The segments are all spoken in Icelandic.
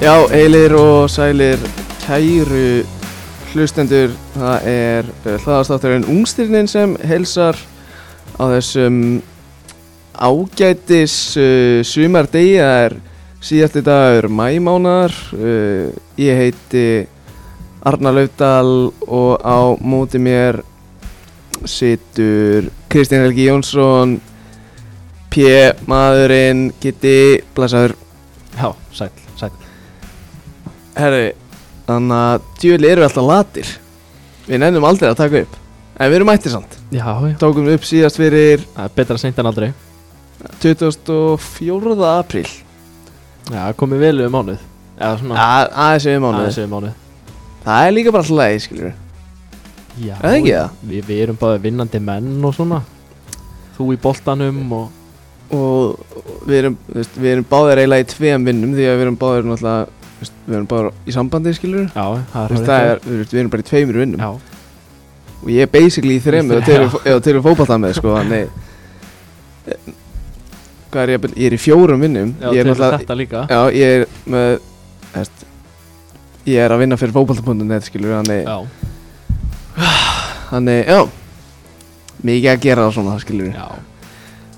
Já, heilir og sælir kæru hlustendur, það er eh, hlaðastátturinn Ungstyrnin sem helsar á þessum ágætis uh, sumardegi, það er síðasti dagur mæmánar, uh, ég heiti Arna Laudal og á móti mér situr Kristján Helgi Jónsson, P. maðurinn, Kitty, blæsaður. Já, sæl, sæl Herri, þannig að djúli erum við alltaf latir Við nennum aldrei að taka upp En við erum mættir samt Já, já Tókum upp síðast fyrir Það er betra seint en aldrei 24. apríl Já, komið vel um mánuð Já, svona A- Aðeins yfir Aðeins mánuð yfir mánuð Það er líka bara alltaf leið, skiljur Já Er það ekki það? Við, við erum bara vinnandi menn og svona Þú í boltanum og Og við erum, þú veist, við erum báðir eiginlega í tveim vinnum Því að við erum báðir náttúrulega þú veist, Við erum báðir í sambandi, skiljur Já, það er Það er, þú veist, við erum bara í tveimur vinnum Já, Og ég er basically í þremur Já. og til við fótballtað með sko, nei Hvað er ég að byrja? Ég er í fjórum vinnum já Ég er til náttúrulega þetta líka Já, ég er með hefst, Ég er að vinna fyrir fótbolta.net skilur Þannig, já, þannig, já Mikið að gera það svona, skilur Já, já.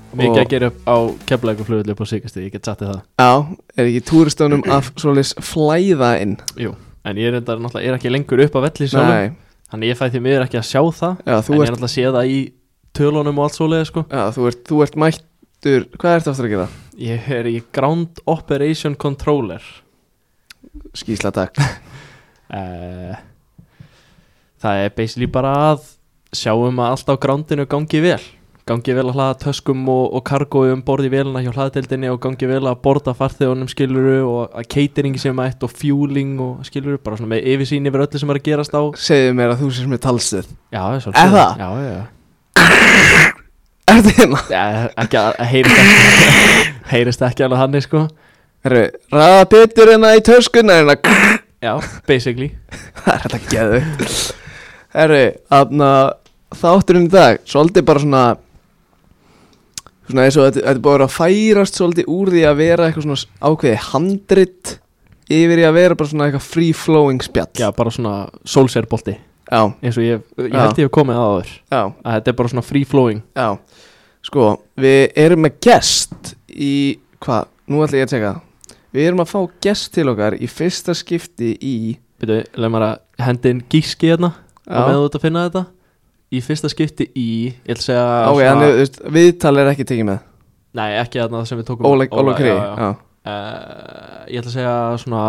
Mikið Og- að gera upp á keflæk og flugullu upp á síkast Ég get sagt þér það er ekki túristónum af svoleiðs flæða inn Jú En ég er enda náttúrulega, er ekki lengur upp á velli sjálfum Nei, Þannig ég fæ því miður ekki að sjá það já, En þú ég ert, náttúrulega sé það í tölunum og allt svoleiði sko já, þú ert, þú ert mættur Hvað ertu aftur að gera? Ég er í Ground Operation Controller Skísla takk uh, Það er basically bara að sjáum að allt á groundinu gangi vel gangi vel að hlaða töskum og, og kargói um borði velina hjá hlaðadeildinni og gangi vel að borða farþegunum skiluru og að catering sem mætt og fueling og skiluru bara svona með yfirsýn yfir öllu sem er að gerast á Segðu mér að þú sést með talstöð Já, svo Er það? Já, já, já Ertu hérna? Eh, Ekki að að heyrist ekki heyrist ekki alveg hannig sko Herru, ræða betur hérna í töskuna hérna Já, basically Það er þetta geðu Herri, aðna þátturinn í dag, svolítið bara svona svona eins og þetta, þetta er búið að vera að færast svolítið úr því að vera eitthvað svona ákveðið handrit yfir í að vera bara svona eitthvað free flowing spjall Já, bara svona solsérbolti já, eins og ég, ég Já. held ég hef komið að áður já, að þetta er bara svona free flowing já. Sko, við erum með gest í, hvað, nú ætla ég að teka Við erum að fá gest til okkar í fyrsta skipti í Býtu, leið maður að hendin gíski hérna og Já, með þú ert að finna þetta í fyrsta skipti í ég ætla að segja ok, hann er, þú veist, viðtal er ekki tekið með nei, ekki þarna sem við tókum Óla, Óla Kri, já, já. já, Uh, ég ætla að segja svona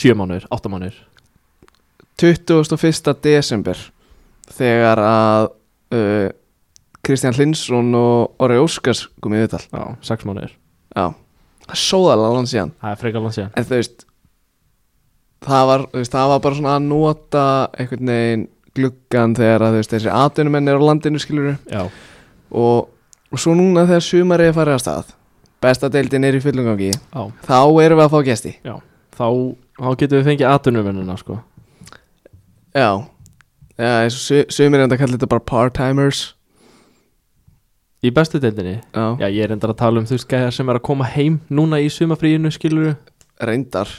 sjö mánur, átta mánur 21. desember þegar að uh, Kristján Hlinsson og Orri Óskars komið viðtal já, sex mánur Já, það er sóðalega langt síðan það er frekar langt síðan en þú veist það var, þú veist, það var bara svona að nota einhvern veginn gluggan þegar að þú veist, þessi atvinnumenn er á landinu skilur já, og, og svo núna þegar sumarið er farið að stað besta deildin er í fullungangi já. þá erum við að fá gesti Þá, þá getum við fengið atvinnumennina sko. Já, Já eins og su- sumir enda að kalla þetta bara part-timers í bestu deildinni Já, já, ég er endar að tala um þú veist gæjar sem er að koma heim núna í sumafríinu skiluru reyndar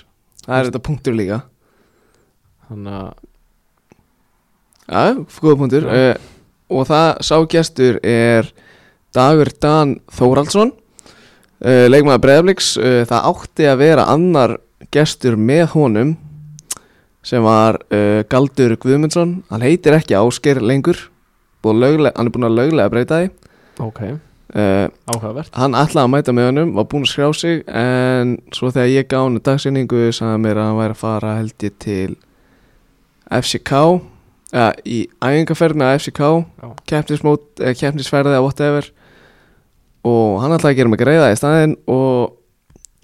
Það er þetta punktur líka þannig að Já, góða punktur Já. uh, Og það sá gestur er Dagur Dan Þóraldsson uh, Leikmaður Breiðabliks uh, Það átti að vera annar gestur með honum sem var uh, Galdur Guðmundsson Hann heitir ekki Ásker lengur Búið að löglega, Hann er búin að löglega að breyta því ok, uh, áhugavert Hann ætlaði að mæta með honum Var búin að skrá sig En svo þegar ég gaf hann dagsynningu sagði hann mér að hann væri að fara held ég til FCK eða í æfingarferð með FCK Já. keppnismót, eh, keppnisferði eða whatever og hann ætlaði að gera mig greiða í staðinn og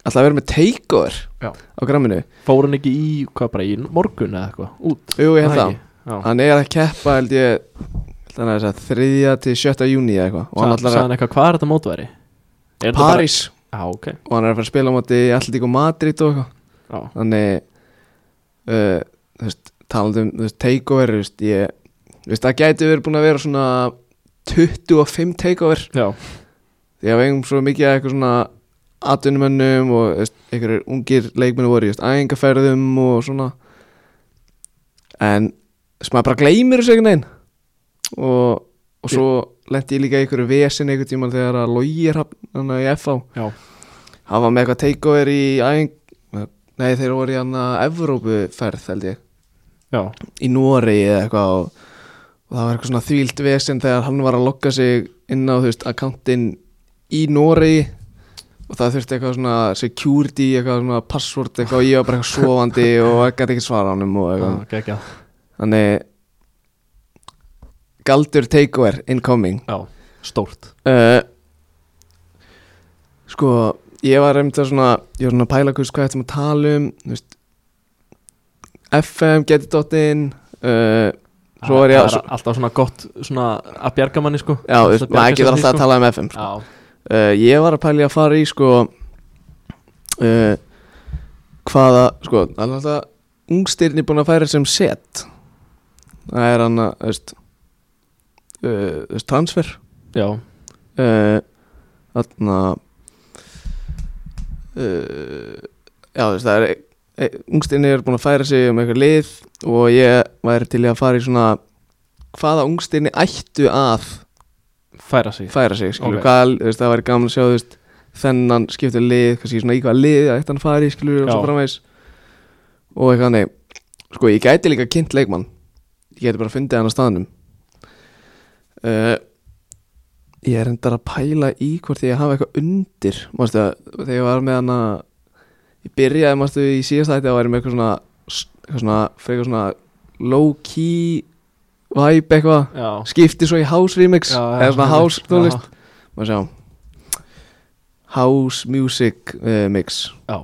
ætlaði að vera með takeover Já. á gramminu fór hann ekki í, hvað bara, í morgun eða eitthvað, út Jú, ég held það það, hann er að keppa held ég held hann að þess að þriðja til sjötta júni eða eitthvað og hann Sæðan ætlaði hann eitthvað, hvað er þetta mótværi? Er að þetta bara- París Já, ok og hann er að fara að spila á móti Alltík og Madrid og eitthvað Já, þannig uh, þú veist, talandi um þú veist, takeover þú veist, ég, þú veist, það gæti verið búin að vera svona 25 takeover já, því að við eigum svo mikið af eitthvað svona atvinnumönnum og þú veist, einhverjir ungir leikmennu voru í þú veist, æfingaferðum og svona en sem maður bara gleymir þessu einhvern veginn og, og svo lendi ég líka í einhverju vesin einhvern tímann þegar að logi er hann í FH Já. hann var með eitthvað takeover í æfing nei þeir voru í hann að Evrópuferð held ég Já, í Nóri eða eitthvað og, og það var eitthvað svona þvílt vesinn þegar hann var að lokka sig inn á þú veist akkantinn í Nóri og það þurfti eitthvað svona security, eitthvað svona password eitthvað og ég var bara eitthvað svovandi og gæti ekki svara honum og eitthvað ok, ekki þannig galdur takeover incoming Já, stórt uh, sko ég var reynd að svona ég var svona að pæla hvers hvað þetta maður tala um þú veist, FM geti dotin uh, Svo var ég Ah, Það að- er alltaf svona gott svona að bjarga manni sko já, þú veist, maður getur alltaf að tala um FM sko. Já, uh, ég var að pæla í að fara í sko uh, hvaða sko, það er alltaf ungstyrni búin að færa sem set það er hann að þú veist, uh, þú veist, transfer já, uh, þarna uh, já þú veist það er e, ungstinni er búin að færa sig um eitthvað lið og ég væri til í að fara í svona hvaða ungstinni ættu að færa sig færa sig skilur, Ok. hvað, þú veist, það væri gaman að sjá þú veist, þennan skiptu lið, kannski svona í hvaða lið ætti hann að fara í skilur og Já. svo framvegis og eitthvað nei sko ég gæti líka kynnt leikmann ég gæti bara fundið hann á staðnum uh, ég er endar að pæla í hvort ég hafa eitthvað undir mástu, þegar ég var með hann að ég byrjaði mástu, í síðasta þætti að væri með eitthvað svona, eitthvað svona, frekar svona low key vibe eitthvað Já, skipti svo í house remix Já, já, eða svona já, house já. tónlist maður sjá house music uh, mix Já.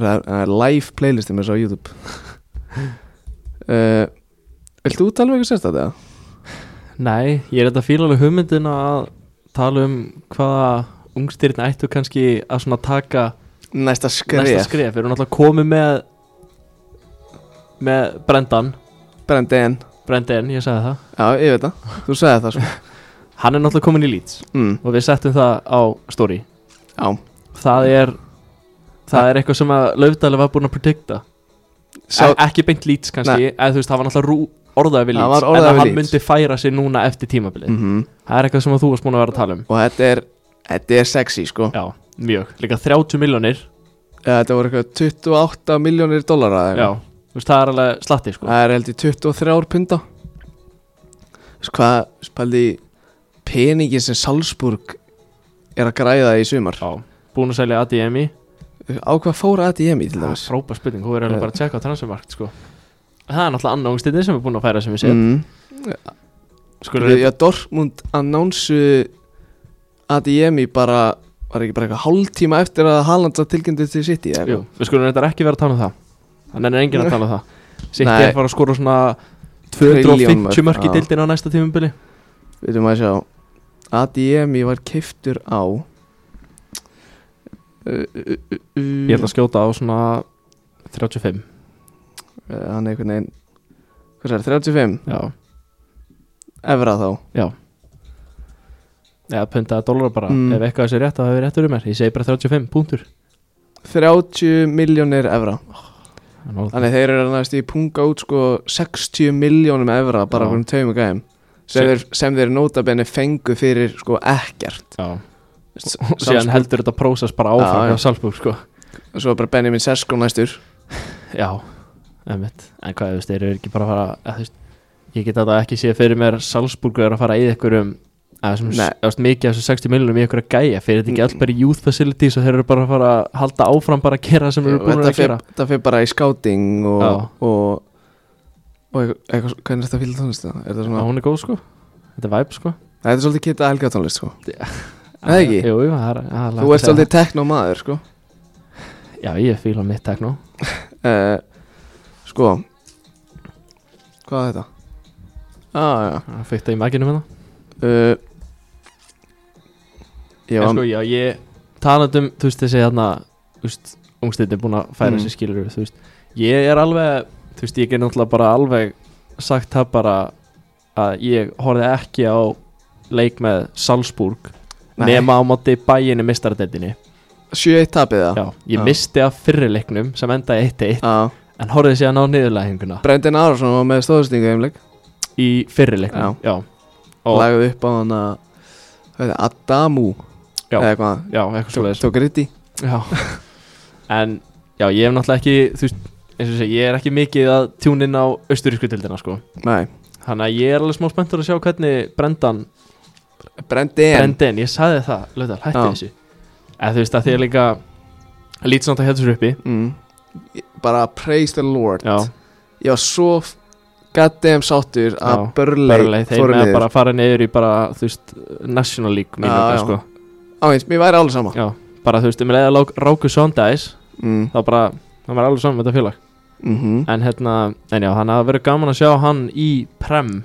það er- það er live playlisti með svo á YouTube uh, Viltu út tala um eitthvað sérstætt eða? Nei, ég er þetta fíla alveg hugmyndin að tala um hvaða ungstyrn ættu kannski að svona taka Næsta næsta skref skref Við erum alltaf komið með með Brendan Brendan Brendan, ég sagði það Já, ég veit það, þú sagði það sko Hann er náttúrulega komin í Leeds mm, og við settum það á story Já, Það er það er eitthvað sem að Laufdali var búin að predikta Sá, En ekki beint Leeds kannski en þú veist, það var náttúrulega rú, orðaði við Það Leeds var orðaði en að við hann Leeds. myndi færa sig núna eftir tímabilið mhm. Það er eitthvað sem að þú varst búin að vera að tala um Og þetta er, þetta er sexy sko Já, mjög, líka 30 miljónir Eða Þetta voru eitthvað 28 miljónir dollara eða eitthvað. Já, þú veist, það er alveg slatti sko Það er held í 23 punda Veistu hvað spaldi peningin sem Salzburg er að græða í sumar Já, búin að selja ADMI Á hvað fóra ADM í til Það er dæmis? frábær spurning, hún er alveg Já. bara að tjekka á transfermarkt sko Það er náttúrulega annar ungstinni sem er búin að færa sem við séð Mm. Skulum við Já, Dortmund annánsu ADM í bara var ekki bara eitthvað hálftíma eftir að Haaland satt tilkynntu til City eða Jú, eitthvað? við skulum reyndar ekki vera að tala um það Þannig er enginn að tala um það Sitt Nei. er bara að skora svona Trillion mörk, 250 mörk í já. dildin á næsta tímumbili Við veitum að sjá ADM í var keiftur á Uh, uh, uh, uh, Ég ætla að skjóta á svona 35 Eh, hann er einhvern veginn hvað er 35 Já, evra þá eða puntaða dólar bara Mm. Ef eitthvað þessi rétt, þá hefur rétt verið mér Ég segi bara 35, punktur 30 miljónir evra Þannig Þannig þeir eru næst í punga út sko 60 miljónum evra bara Já. hverjum taumi gæm sem Sem- þeir, sem þeir notabenni fengu fyrir sko ekkert Já, S- og síðan Salzburg- heldur þetta prósess bara Já, áfram já. á Salzburg sko Svo bara Benjamin Sesko næstur Já, einmitt En hvað, þú veist, þeir eru ekki bara að fara að, þú veist, Ég get þetta ekki séð fyrir mér Salzburg er að fara í einhverjum að þessum, Nei. að þessum mikið af þessum 60 miljonum í einhverja gæja fyrir þetta ekki Mm. alls bara í youth facilities og þeir eru bara að fara að halda áfram bara að gera það sem þeir eru búin Þetta að fer- gera þetta fyrir bara í skáting og, Já. og, og eitthvað, eitthvað, hvernig er þetta fíla tónlist það? Er þetta Já, svona, hún er góð sko Þetta er væp sko þetta er svolítið kitta helga tónlist sko Það er ekki? Jú, jú, það er það Þú ert er hægt að segja svolítið tekno maður sko það. Já, ég fíla mitt tekno uh, Sko Hvað er þetta? Ah, já, Það fyrir þetta í maginum hérna Uh, ég Já, var sko, já, ég talandi um, þú veist, þessi hérna, þú veist, ungstættin búin að færa Mm. sér skilur, þú veist, ég er alveg, þú veist, ég er náttúrulega bara alveg sagt það bara að ég horfði ekki á leik með Salzburg Nei. nema á móti bæinni mistaradeldinni 7-1 tapið það Já, ég Já. misti af fyrirleiknum sem endaði 1-1 Já en horfið síðan á niðurlæðinguna Brendan Arason var með stóðstingu heimleik í fyrirleiknum Já, Og- Lagði upp á hann að Hvað heitir Adamu Já. Eða eitthvað já eitthvað svo Tók, tók riti Já En já, ég hef náttúrulega ekki Þú veist, eins og sé, ég er ekki mikið að tjúna inn á austurísku dildina sko Nei Þannig að ég er alveg smá spenntur að sjá hvernig Brendan Brendan Brendan, ég saði það, lögðal, hætti Já. þessu En þú veist að því er líka Lít samt að hérna sér uppi mm. Bara praise the lord Já, Ég var svo f- goddamn sáttur að Já, börlei Burnley, þeir með að bara fara niður í bara, þú veist, National League mínu, Já, já, já. sko. Áeins, mér væri alveg sama já, bara þú veist, um leiða Ráku Sondæs, mm. þá bara, það var alveg saman með þetta félag mm En hérna, en já, hann hafa verið gaman að sjá hann í Prem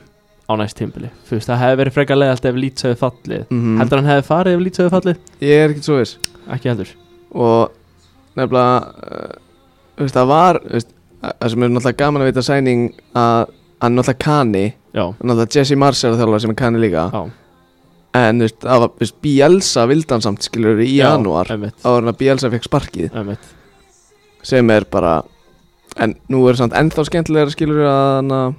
á næst tímbili Þú veist, það hefði verið frekar leiðalt ef Leeds hefði fallið -hmm. Heldur hann hefði farið ef Leeds hefði fallið? Ég er ekkert svo viss Ekki heldur Og nefnilega uh, Þú veist, það var þú veist, að- Það sem er náttúrulega gaman að vita sæning að hann er náttúrulega Kani Já, náttúrulega Jesse Mars er að þjálfa sem er Kani líka já, en þú veist, það var, þú veist, Bielsa vildan samt skilur í já, janúar einmitt, áður en að Bielsa fekk sparkið einmitt. sem er bara en nú er samt ennþá skemmtilegra skilur að hann að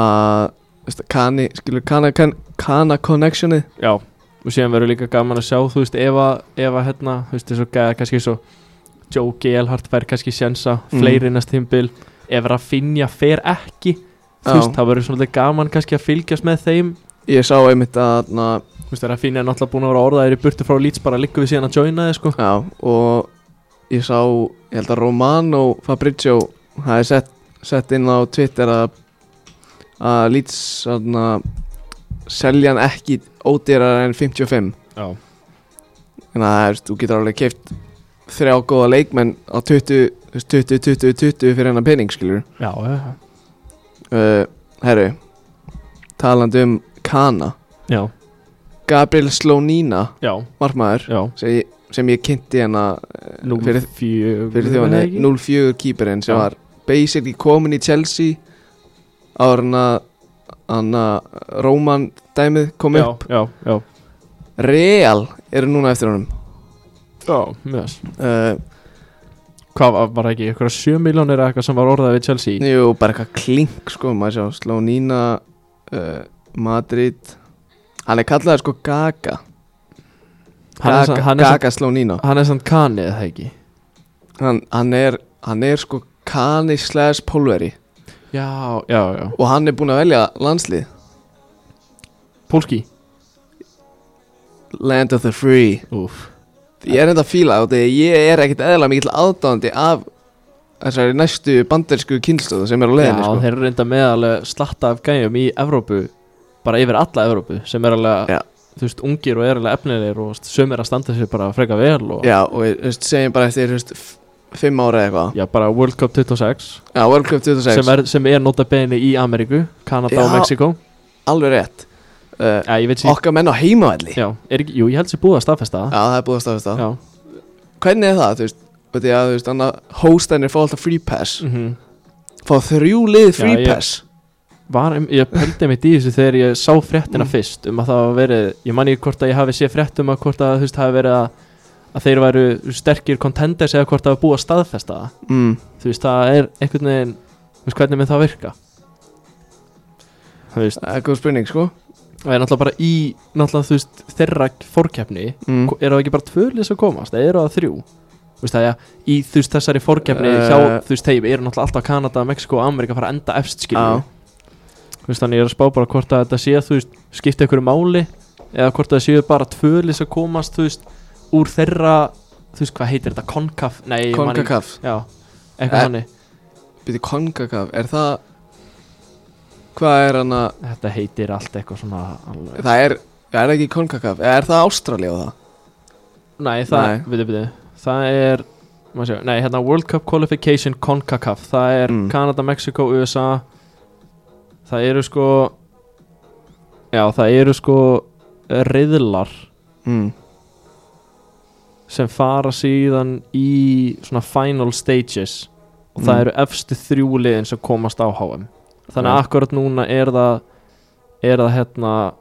að veist, Kani, skilur Kana, kan, Kana Connectionið Já, og síðan verður líka gaman að sjá Þú veist, ef að, ef að hérna Þú veist, þessu gæða kannski svo Joe Gelhardt fær kannski sjensa Mm. Fleiri næst tímbil Ef Rafinha fer ekki Þú Já. veist, það verður svolítið gaman kannski að fylgjast með þeim ég sá einmitt að na, Þú veist, Rafinha er náttúrulega búin að vera orðaðir í burtu frá Leeds bara liggur við síðan að joina þið, sko já, og ég sá, ég held að Romano Fabrizio hafi sett, sett inn á Twitter að að Leeds svona, selja hann ekki ódýrar en 55 Já, þannig að þú veist, þú getur alveg keift þrjá góða leikmenn á 20, þú veist, 20, 20, 20 fyrir hennar pening skilur já, já, uh, herru, talandi um Kana, já, Gabriel Slónína já, margmaður já. sem, ég- sem ég kynnti hérna hennar fyrir- fjögur fyrir þjóðan 0-4 kýperinn sem Já. var basically komin í Chelsea ára hann að hann að Róman dæmið kom Já, upp já, já, Real eru núna eftir honum já, mjög uh, Hvað var- var ekki, ykkur 7 miljónir eða eitthvað sem var orðað við Chelsea Jú, bara eitthvað klink sko maður sjá, Slónína uh, Madrid hann er kallaði sko Gaga Hann Gaga, er sa- hann er sa- Gaga Slónína Hann er samt kanið, það ekki hann, hann, er, hann er sko Kani slash Pólveri Já, já, já og hann er búinn að velja landslið Pólski Land of the Free Úf Ég er enda að fíla á því að ég er ekkit eðla mikill aðdáðandi af þessari næstu bandersku kynsluðu sem er á Já, leiðinni sko. þeir eru reynda með alveg slatta af gæjum í Evrópu Bara yfir alla Evrópu Sem er alveg, Já. þú veist, ungir og er alveg efnilegir Og sömur að standa sér bara freka vel og, Já, og þú veist, segjum bara eftir þú veist, f- fimm ára eða eitthvað Já, bara World Cup 26 Já, World Cup 2006, sem er, sem er nota bene í Ameríku Kanada og Já. Mexiko alveg rétt uh, Já, ég veit sér Okkar menn á heimavalli Já, Já, er ekki, jú, ég held sér búið að staðfesta það. það er búið að staðast það Já, Hvernig er það, þú veist, veit ég að þú veist, annað hóstan er fá alltaf free pass mhm Fá þrjú lið free Já, ég- pass var, em- ég pældi mitt í þessu þegar ég sá fréttina fyrst um að það var verið, ég man ekki hvort að ég hafi séð frétt um að hvort að þú veist hafi verið að, að þeir væru sterkir contenders eða hvort að hafi búið að staðfesta það mm. þú veist það er einhvern veginn þú veist hvernig með það virka þú veist, Það er góð spurning, sko það er náttúrulega bara í náttúrulega þú veist þeirra fórkeppni mm. mm. eru það ekki bara tvö lið sem komast eða eru það þrjú Þú veist það, ja, í þú veist þessari fórkefni Eh. hjá þú veist þeim eru náttúrulega alltaf Kanada, Mexiko og Amerika að fara að enda efst Já. skilur þú veist þannig ég er að spá bara hvort að þetta sé þú veist skipta ykkur máli eða hvort að það séu bara tvö lið sem komast þú veist úr þeirra þú veist hvað heitir þetta, CONCAF nei, ég man ekki- Konkakaf, já, eitthvað Eh. þannig byrju Konkakaf, er það Hvað er hann að þetta heitir allt eitthvað svona alveg. Það er, það er ekki konkakaf Er það Ástrali á það? nei, það, Nei. veitu, veitu það er, maður séu, nei, hérna World Cup Qualification CONCACAF, það er Mm. Kanada, Mexiko, USA það eru sko já, það eru sko riðlar Mm. sem fara síðan í svona final stages og það Mm. eru efstu þrjú liðin sem komast á HM þannig Já. að akkurat núna er það er það hérna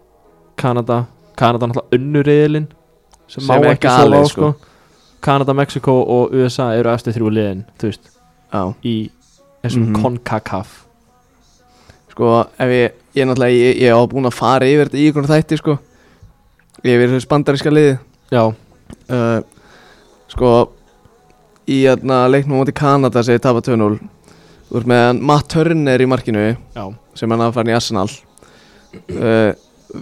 Kanada, Kanada náttúrulega unnur riðilinn sem, Sem má er ekki galið, sofa á sko. sko. Kanada, Mexiko og USA eru eftir þrjú liðin þú veist, Já í þessum Mhm. CONCACAF Sko, ef ég, ég náttúrulega, ég, ég á búin að fara yfir þetta í ykkur þætti, sko Yfir þessu bandaríska liði Já, uh, Sko, í hérna leiknum á móti Kanada segir tapa 2-0 Þú ert með hann Matt Turner í markinu já, sem hann hafa farin í Arsenal uh,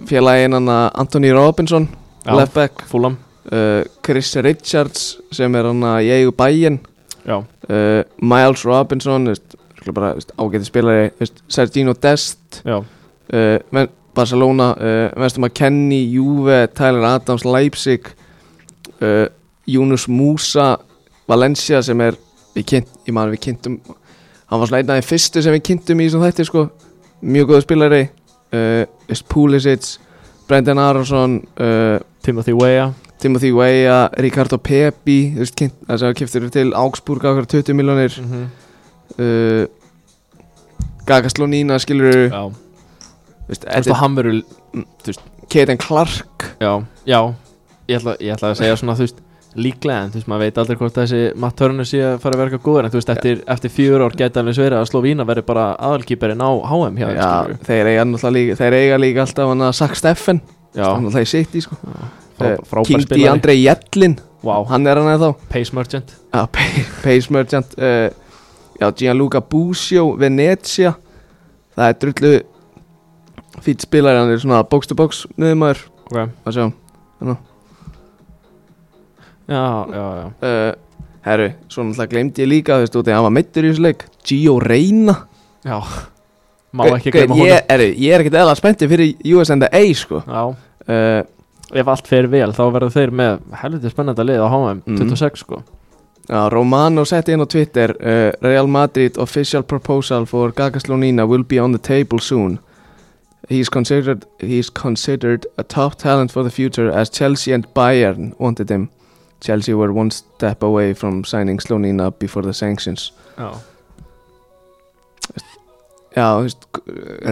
Félaginn hann að Anthony Robinson, já left back Fulham uh, Chris Richards sem er hérna hann að ég og bæinn Já, uh, Miles Robinson þú veist, örugglega bara, þú veist, ágæti spilari þú veist, Sergino Dest já, uh, Men- Barcelona, uh, Vestum að Kenny Juve, Tyler Adams, Leipzig uh, Yunus Musa Valencia sem er við kynnt, ég man við kynntum hann var svona einn af þeim fyrstu sem við kynntum í þessum þætti sko, mjög góðu spilari uh, þú veist, Pulisic Brendan Aronson uh, Timothy Weah Timothy Weah, Ricardo Pepi þú veist, kynnt, það sem kiptur til Augsburg á okkur 20 miljonir mm uh, Gaga Slónína skilur Já, þetta Þetta er hann verið er Kaden Clark Já, já Ég ætla, ég ætla að segja svona, þú veist Líklega, en þú veist, maður veit aldrei hvort þessi Matt Turner sé að fara að verka góður En þú veist, eftir, eftir fjör ár geta alveg sverið að Slovína verði bara aðalkýperinn á HM hjá, þeim, Já, skilurðu. þeir eiga náttúrulega líka, þeir eiga líka alltaf hann að Sack Steffen hann já alltaf í City sko frá, Eh, Frábær King D. spilari Andrei Jellin Vá, hann er hann eða þá Pace Merchant Já, P- Pace Merchant uh, Já, Gianluca Busio Venezia það er drullu fýtt spilari hann er svona box to box niður maður okay. að sjá Já, já, já uh, Herru, svo náttúrulega glemdi ég líka þú veist, út í að hann var meittur í þessu leik Gio Reyna Má ekki Gre- gre- gleyma honum ég, er, ég er ekkert eða spenntið fyrir US and the A sko. Já, uh, ef allt fer vel þá verður þeir með helviti spennandi lið á HM Mhm. 26 sko já, Romano setti inn á Twitter uh, Real Madrid official proposal for Gaga Slonina will be on the table soon He's considered, he's considered a top talent for the future as Chelsea and Bayern wanted him. Chelsea were one step away from signing Slonina before the sanctions. Já, Já, þú veist,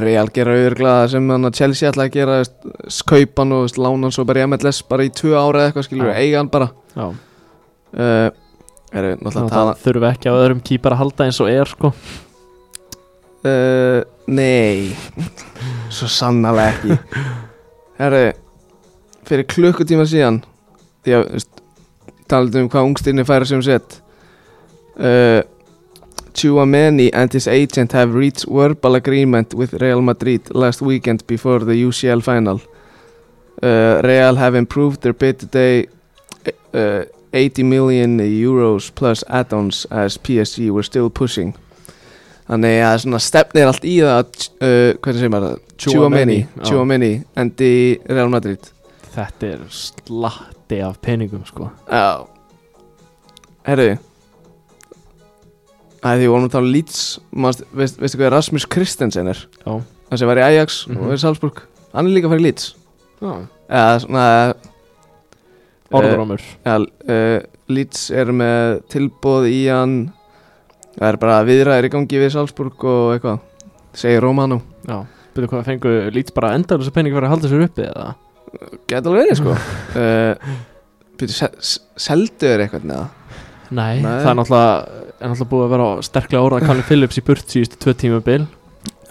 Real gera auðvitað sem hann að Chelsea ætla að gera, þú veist, skaupan og þú veist, lána hann svo bara í MLS bara í tvö ára eða eitthvað skilur, Já. eiga hann bara. já uh, Erum við náttúrulega að tala Það þurfum við ekki á öðrum kýpar að halda eins og er sko uh, Nei Svo sannarlega ekki Herru Fyrir klukkutíma síðan Því að þú veist, talaðum um hvað ungstinni færa sem sett uh, Chouameni and his agent have reached verbal agreement with Real Madrid last weekend before the UCL final. Uh, Real have improved their bid today uh, 80 million euros plus add-ons as PSG were still pushing. Þannig að svona stefnir allt í það að, uh, hvernig segir maður það? Chouameni, já. Chouameni endi Real Madrid. Þetta er slatti af peningum sko Já Herru Það því við vorum að tala um Leeds manst, veist, Veistu hvað Rasmus Kristensen er? Já. Hann sem var í Ajax Mhm. og er í Salzburg Hann er líka að fara í Leeds Já Eða svona eh, Orðrómur ja, uh, Leeds er með tilbóð í hann Það er bara viðræðir í gangi við Salzburg og eitthvað Segir Romano Já Byrðu hvað fengu lít bara endalins að peningi fyrir að halda sér uppi eða Gæti alveg verið sko uh, Býtu, se- se- seldu er eitthvað neða Nei, Nei. það er náttúrulega er náttúrulega búið að vera á sterklega orða Kalli Phillips í burt síðustu tvö tíma bil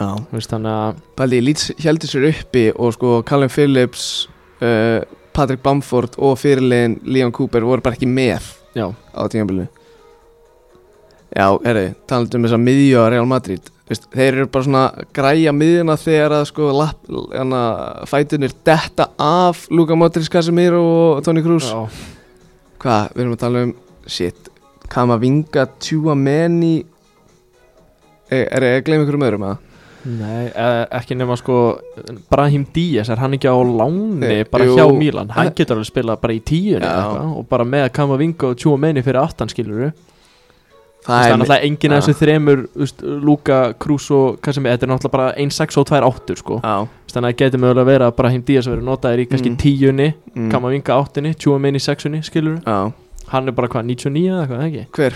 Já Vist þannig að Bæli, Leeds heldur sér uppi og sko Callum Phillips, uh, Patrick Bamford og fyrirlegin Leon Cooper voru bara ekki með Já, á tímabilinu. Já, herru, talandum um þess að miðju á Real Madrid. Veist, þeir eru bara svona að græja miðjuna þegar að sko lapp, hana, fætunir detta af Luka Modric, Casemiro og Toni Kroos. já, Hvað, við erum að tala um, shit, Kamavinga, Tjúameni, er, er, er, gleym ykkur um öðrum að? Nei, eh, ekki nema sko Brahim Díaz, er hann ekki á láni Nei, bara jú. hjá Mílan, hann Hann- getur alveg spilað bara í tíunni Já. eða eitthvað, og bara með að kama vinga og tjúa meini fyrir aftan skilur það er náttúrulega enginn af Já. þessu þremur úst, Luka, Krús og hvað sem er, þetta er náttúrulega bara 1, 6 og 2, 8 sko. Já. þannig að það getur mögulega verið að Brahim Díaz verið notaðir í kannski Mm. tíunni, Mm. kama vinga áttinni tjúa meini sexunni, skilur Já. hann er bara hvað, 99 eða eitthvað, ekki? Hver?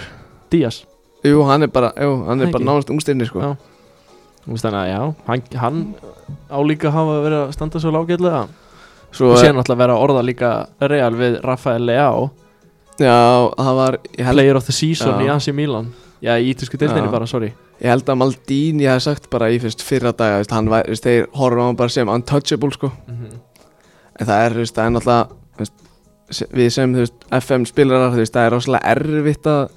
Díaz, Jú, hann er bara, jú, hann er Ekki. bara nánast ungstirni sko Já. Þú veist, þannig að já, hann, hann á líka að hafa verið að standa svo lágætlega Svo, og síðan náttúrulega vera að orða líka Real við Rafael Leao já, það var ég held, Player of the Season Já. í AC Milan Já, í ítilsku deildinni Já. bara, sorry ég held að Maldini hafði sagt bara í fyrst fyrra daga, veist, hann var, veist, þeir horfum á hann bara sem untouchable sko en það er, þú veist, það er náttúrulega þú veist, se- við sem, þú veist, FM spilarar þú veist, það er rosalega erfitt að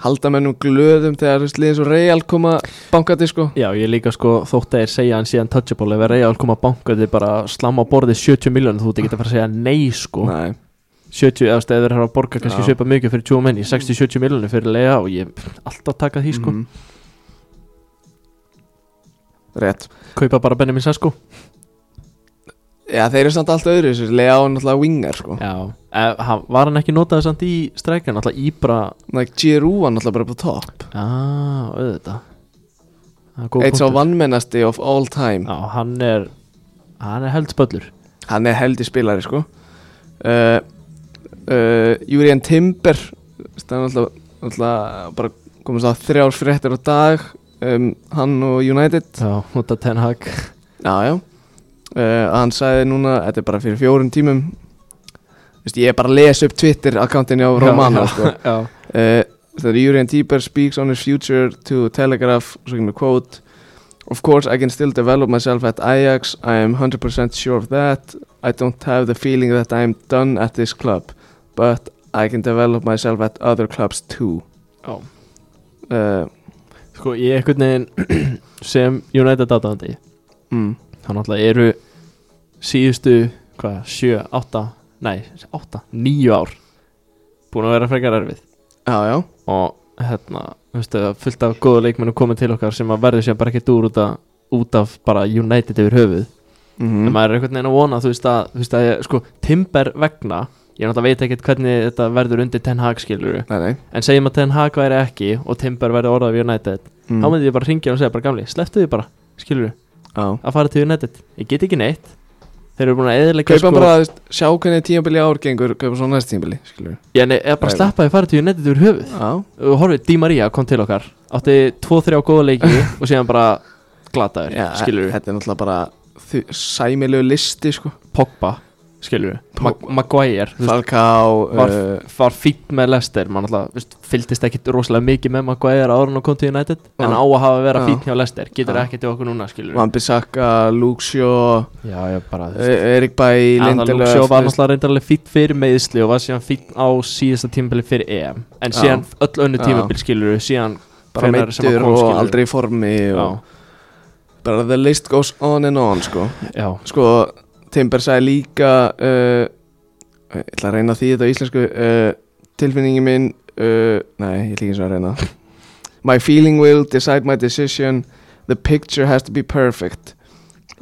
halda mennum glöðum þegar, þú veist, liðin svo real koma bankandi, sko Já, ég líka sko þótt að þeir segja hann síðan touchable ef Real koma að banka þið bara slamma á borðið 70 miljónir þú ert ekki að fara að segja nei sko Nei, 70, eða þú veist, ef þeir eru að borga kannski Já. svipa mikið fyrir 20 menni, 60-70 miljónir fyrir lega og ég pff, alltaf taka því sko Mhm. Rétt kaupa bara Benjamin Sesko Já, þeir eru samt allt öðru, þessu lega á náttúrulega wingar, sko Já, e, hann, var hann ekki notaði samt í streikan, alltaf Íbra Þannig að Giroud var náttúrulega bara på topp Já, auðvitað Það er góð Eitt sá punktur. vannmennasti of all time Já, hann er hann er held spöllur Hann er heldi spilari sko uh, uh, Júriðan Timber Það er alltaf, alltaf bara komast á þrjár fréttir á dag um, Hann og United Já, nota Ten Hag Já, já uh, Hann sagði núna, þetta er bara fyrir fjórum tímum Vist, Ég er bara að lesa upp Twitter-akkantinu á Romana Já, sko. já. uh, Það er Júriðan Timber speaks on his future to Telegraph Svo kemur quote Of course I can still develop myself at Ajax I am 100% sure of that I don't have the feeling that I am done at this club But I can develop myself at other clubs too já. uh, Sko, ég er einhvern veginn sem United aðdáðandi mm, þá náttúrulega eru síðustu, hvað, sjö, átta nei, átta, níu ár búin að vera frekar erfið Já, Ah, já og hérna, veistu, fullt af góða leikmennu komið til okkar sem að verður sem bara ekkert úr út af, út af bara United yfir höfuð en mm maður er einhvern veginn að vona þú veist að, þú veist að ég, sko, Timber vegna ég náttúrulega veit ekkert hvernig þetta verður undir Ten Hag skilur Nei, nei en segjum að Ten Hag væri ekki og Timber verður orðað við United þá mm. myndi ég bara ringja og segja bara gamli slepptu því bara, skilur Já að fara til United ég get ekki neitt þeir eru búin að sko, eðilega Kaupa bara, þú veist, sjá hvernig tímabili ár gengur Kaupa svo næst tímabili, skilur já, nei, eða bara Nei. sleppa því að fara til United úr höfuð Já og horfið, Di Maria kom til okkar átti 2-3 góða leiki og síðan bara glataður, Já, skilur Þetta er náttúrulega bara þi- sæmilegu listi, sko Pogba, skilur Mag Maguire, þú veist, Falcao Var- uh, var fínt með Lester mann alltaf, veist, fylgdist ekkit rosalega mikið með Maguire ára og kom til United en Já. á að hafa að vera Já. fínt hjá Lester getur Já. ekki til okkur núna, skilur Van Bissaka, Luke Shaw já, já, bara, þú veist Eh, Erik Bæ, Lindelöf Lindelöf Sjó var þú veist, náttúrulega reyndar alveg fýtt fyrir meðisli og var síðan fýtt á síðasta tímabili fyrir EM en Já. síðan öll önnu Já. tímabil skilur við síðan bara hvenær sem hann meittur kom, og skilur. aldrei í formi já, og bara the list goes on and on sko, já, sko Timber sagði líka uh, ég ætla að reyna því þetta á íslensku uh, tilfinningi minn uh, nei, ég líka eins og að reyna my feeling will decide my decision the picture has to be perfect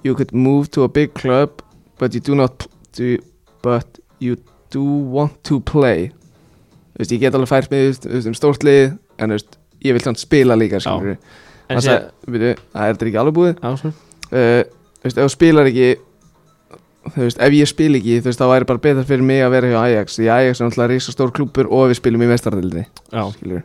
you could move to a big club but you do not do, but you do want to play þú veist, ég get alveg fært mig þú veist, um stórt lið en þú veist, ég vil þannig spila líka skilur en Það síðan sagði, byrju, það er þetta ekki alveg búið já, sko. svo, uh, Þú veist, ef þú spilar ekki Þú veist, ef ég spil ekki Þú veist, þá væri bara betra fyrir mig að vera hjá Ajax Því Ajax er náttúrulega risa stór klúpur og við spilum í mestardildinni já, Skilur,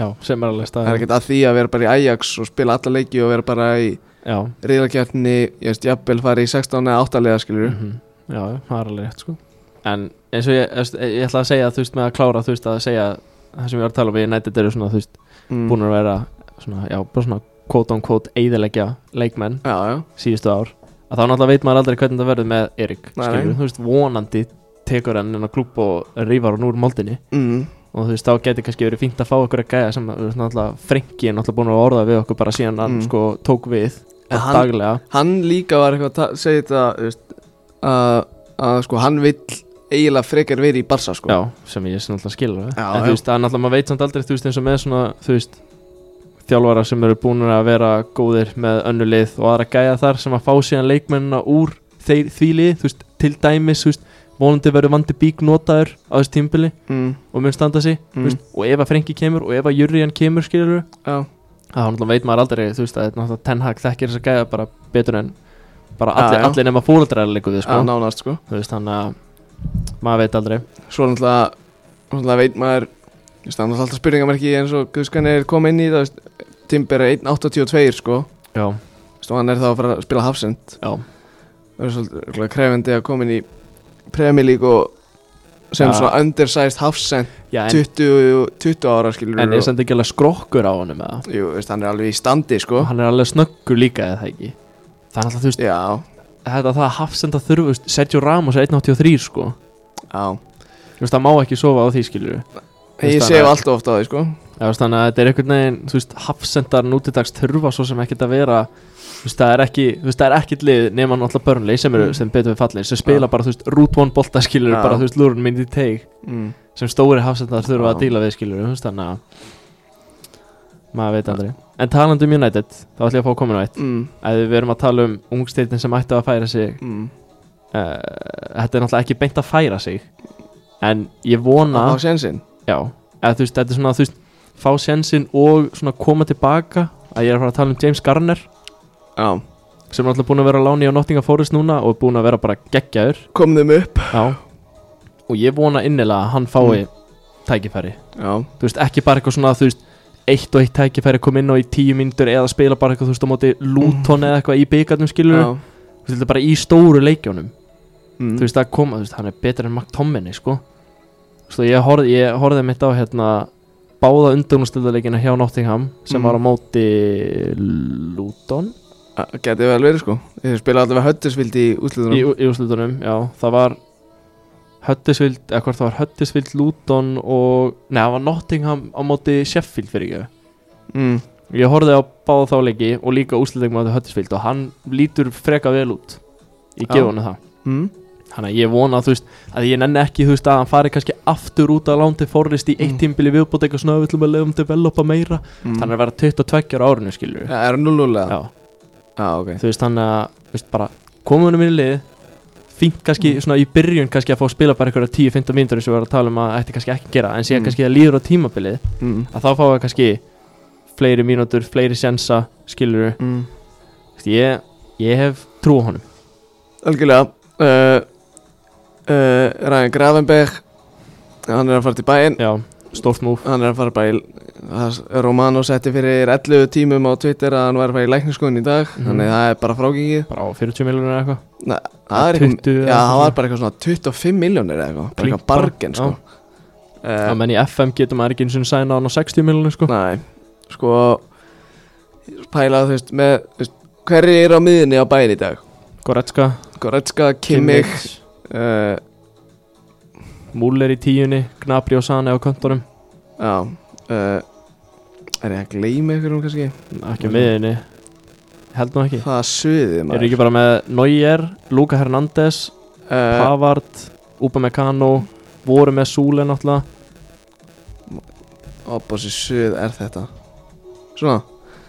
já, sem er alveg það er staðið ekkert að því að vera bara í Ajax og spila alla leiki og vera bara í já, riðlakjarni Ég veist, jafnvel fari í 16 eða 8 leða, skilur mhm, já, já, það er alveg rétt sko en eins og ég, þú veist, e- ég ætla að segja þú veist með að klára þú veist að segja það sem ég var að tala um við United eru svona þú veist mm. búin að vera svona, já, bara svona quote on quote eiðilegja leikmenn Já, já, síðustu ár að þá náttúrulega veit maður aldrei hvernig það verður með Erik Nei, skilur, nei. þú veist, vonandi tekur hann inn á klúb og rýfar hann úr moldinni mm. og þú veist, þá getur kannski verið fínt að fá okkur að gæja sem að, þú veist, náttúrulega frengi er náttúrulega búin að orða við okkur bara síðan hann Mm. sko tók við En hann, hann- daglega Hann líka var eitthvað að ta- segja þetta þú veist, að, að sko, hann vill eiginlega frekar verið í Barsa, sko já, sem ég sem náttúrulega skilur Já, já. en þú veist, það er náttúrulega maður veit samt aldrei þú veist, eins og með svona, þú veist þjálfara sem eru búin að vera góðir með önnu lið og aðra gæja þar sem að fá síðan leikmennina úr þeir, því lið, þú veist, til dæmis þú veist, vonandi verður vandi bík notaður á þessu tímbili mm. og mun standa sig Mm. mm. veist, og ef að Frenki kemur og ef að Jurrian kemur skilur Já, þá náttúrulega veit maður aldrei þú veist að náttúrulega Ten Hag þekkir þess að gæða bara betur en bara Já, allir, já. allir nema fóreldrar leiku við sko já, nánast, sko þú veist þannig að maður veit aldrei svo náttúrulega, náttúrulega veit maður þú veist, það er náttúrulega alltaf spurningamerki eins og Guðskan er komið inn í það þú veist, Timber er 1.82 sko já, þú veist, og hann er þá að fara að spila hafsend já, Það er svolítið örugglega krefandi að koma inn í Premier League og sem Ja. svona undersized hafsend Já, en, 20, 20 ára skilur en er samt ekki alveg skrokkur á honum eða? Jú, veist, hann er alveg í standi sko og hann er alveg snöggur líka eða það ekki þannig að þú veist, Já, þetta það að hafsenda þurfu veist, Sergio Ramos er 1.83 sko já þú veist, það má ekki sofa á því skilur Ég Veist, sé hann- alltaf ofta á því sko veist, þannig að þetta er einhvern veginn, þú veist, hafsendar nútidags þurfa svo sem ekkert að vera þú veist, það er ekki, þú veist, það er ekkert lið nema náttúrulega Burnley sem eru, sem betur við fallin sem spila Mm. Já. bara, þú veist, root one bolta skilur Já. bara, þú veist, lúrun myndi í teig mm. sem stóri hafsendar þurfa Já. að díla við skilur, þú veist, þannig að maður veit aldrei en talandi um United, þá ætlum ég að fá að koma nú eitt Mm. að við verum að tala um ungsteitin sem ættu að færa sig Mm. uh, þetta er náttúrulega ekki beint að færa sig en ég vona Á sénsinn já, eða, þú veist, þetta er svona þú veist, fá sénsinn og svona koma tilbaka að ég er að fara að tala um James Garner Já, sem er náttúrulega búin að vera á láni á Nottingham Forest núna og er búin að vera bara geggjaður kom þeim upp já. og ég vona innilega að hann fái tækifæri Já, þú veist, ekki bara eitthvað svona þú veist, eitt og eitt tækifæri að koma inn á í tíu mínútur eða spila bara eitthvað þú veist á móti Luton eða eitthvað í byggarnum skilur já þú veist, þetta er bara í stóru leikjónum mm. þú veist að koma, þú veist, hann er betur en McTominay sko þú veist, ég horfði, ég horfði mitt á hérna báða undurnustöldarleikina hjá Nottingham sem Mm. var á móti Luton A- Gæti vel verið sko Þeir spila allavega höttisvild í í, útlutunum í úrslutunum, já, það var Höttisvild, eða hvort það var Höttisvild, Luton og neða, það var Nottingham á móti Sheffield fyrir ekki mm. ég horfði á báða þá leiki og líka úrslutum á móti Höttisvild og hann lítur freka vel út í Já. gefunni það Mm. Þannig að ég vona þú veist, að ég nenni ekki þú veist, að hann fari kannski aftur út á lán til Forrest í eitt Mm. tímbili viðbútt eitthvað svona við ætlum að leiðum developa meira Mm. þannig að vera 22 ára árinu skilur Ja, er hann 0-0 eða? Já, Já, ok þú veist þannig að þú veist, bara komum við um í lið fínt kannski Mm. svona í byrjun kannski að fá að spila bara einhverja 10-15 mínútur eins og við varum að tala um að ætti kannski ekki að gera en síðan Mm. kannski að líður á tímabilið mm. að þá fá við kannski fleiri mínútur, fleiri sensa skilur Mm. ég, ég hef trú á honum Algjörlega uh, uh, Ryan Gravenberg Hann er að fara til bæinn Já, stórt múf Hann er að fara bara í það- Romano setti fyrir 11 tímum á Twitter að hann var að fara í lækniskoðun í dag Mhm. Þannig að það er bara frágengið bara á 40 miljonar eitthvað Það er 20 eitthvað Já, eða eitthvað það svona. var bara eitthvað svona 25 miljónir eða eitthvað Bara Klink eitthvað bara, bargen sko Já, uh, menn í FM getur maður ekki eins og sæna hann á 60 miljonir sko Nei, sko Pæla þú veist með þú veist, Hverri er á miðinni á bæinn í dag? Goretzka, Goretzka, Kimmich Kimmich, uh, Müller í tíunni Gnabry og Sane á kontorum Já uh, Er ég að gleyma ykkur um kannski? ekki á miðinni held nú ekki Það er suðið eru maður ekki bara með Neuer, Luka Hernandez uh, Pavard, Upamecano voru með Sule náttúrulega Opposið suð er þetta Svona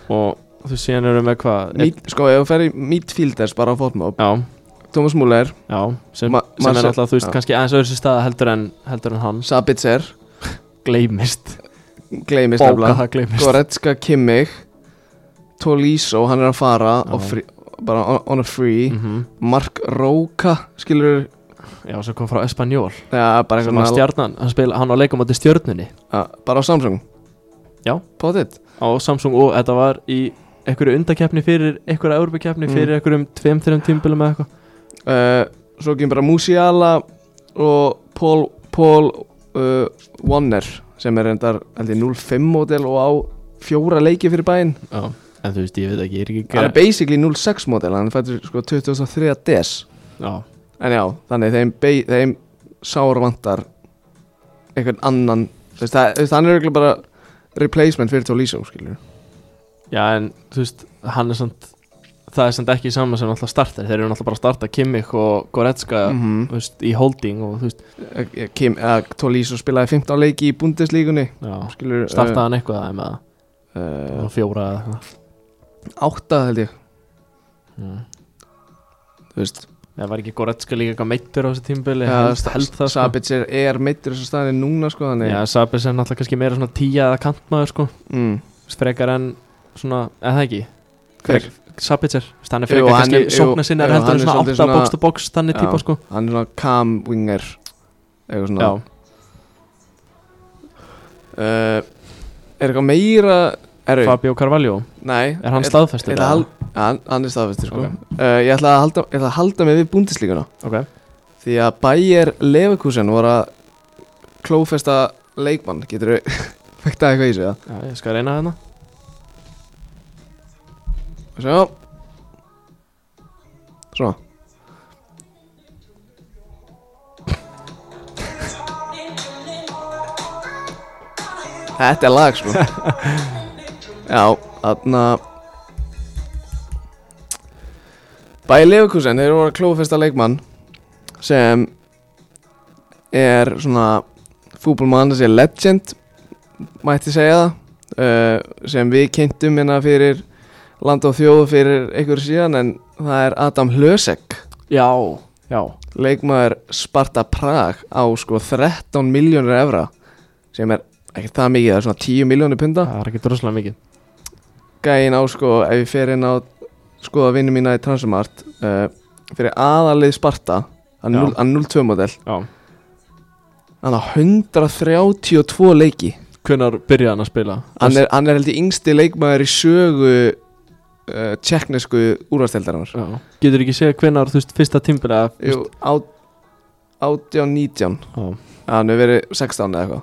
og þú séðan eru með hvað mít, Sko ef þú fer í midfielders bara á fótmóp já, Thomas Muller já sem, Ma- sem er Marcel- náttúrulega þú veist já. kannski aðeins öðru sér staða heldur en heldur en hans Sabitzer gleymist, Gleymist bóka nefnilega það gleymist Goretzka Kimmich Tolisso hann er að fara Já. og free, bara on, on a free mm Mark Róka skilur já, sem kom frá Espanjól ja, bara, sem að eitthvað, stjarnan, hann, spila, hann á leikum átti stjörnunni að, bara á Samsung Já. Pottit á Samsung og þetta var í einhverju undakeppni fyrir einhverja europakeppni Mm. fyrir einhverjum tveim, þreim tímbilum eða eitthvað uh, Svo kemur bara Musiala og Paul, Paul uh, Warner sem er reyndar held ég, 0-5 model og á fjóra leiki fyrir bæinn já, en þú veist, ég veit ekki, ég er ekki Hann er basically 0-6 model hann fættur sko 2003 DS já, En já, þannig þeim, bei- þeim sár vantar einhvern annan þú veist, það, þú veist, hann er örugglega bara replacement fyrir Tolisso skilur já, en þú veist hann er samt, það er samt ekki saman sem alltaf startar, þeir eru alltaf bara að starta Kimmich og Goretzka mm -hmm. þú veist, í holding og þú veist Eh, Kim, að Tolisso spilaði 15 leiki í eh, Bundeslíkunni já, skilur startaði hann eitthvað aðeim eða uh, uh, fjóra eða eitthvað. átta held ég Já. þú veist Nei, var ekki Goretzka líka eitthvað meittur á þessu tímbili Já, held, Sa- held það sko Sabitzer er meittur þessar staðinni núna sko þannig Já, Sabis er náttúrulega kannski meira svona tíja eða kantmaður sko mm. Þú veist, frekar en svona, eða það ekki Hver? Sabitzer, þú veist, hann er Jú, frekar hann kannski er- jú, sókna sinna jú, heldur hann en er svona svolítið átta svona- box to box þannig Já. típa sko Hann er svona calm winger Eitthvað svona Já, uh, Er Eh, eitthvað meira Erfi, Fabio Carvalho nei Er hann ég- staðfestur ég ætla eða? að hal- Ja, hann- Hann er staðfestur sko Ok. uh, Ég ætla að halda, ég ætla að halda mig við búndislíkuna Ok Því að Bayer Leverkusen voru að klófesta leikmann Getur við fækta eitthvað í sig það? Já, ég skal reyna þarna Sjá Svona Þetta er lag sko Já, þarna Bæði Leifkusen, þeir voru að klófesta leikmann sem er svona fútbolmann þessi legend mætti segja það uh, sem við kynntum hérna fyrir land og þjóð fyrir einhver síðan en það er Adam Hlösek Já, já leikmaður Sparta Prag á sko 13 miljónur evra sem er ekkert það mikið, það er svona 10 miljónur punda Það er ekki droslega mikið gæin á sko ef ég fer inn á skoða vinnu mína í Transumart uh, fyrir aðalið Sparta að Já. 0 að 0-2 model Já hann á 132 leiki Hvenær byrjaði hann að spila? hann er, hann er heldur yngsti leikmaður í sögu uh, tjekknesku úrvasteldarinnar Já Getur ekki segja hvenær, þú veist, fyrsta tímbilega Jú, á- 18-19 Já, Hann hefur verið 16 eða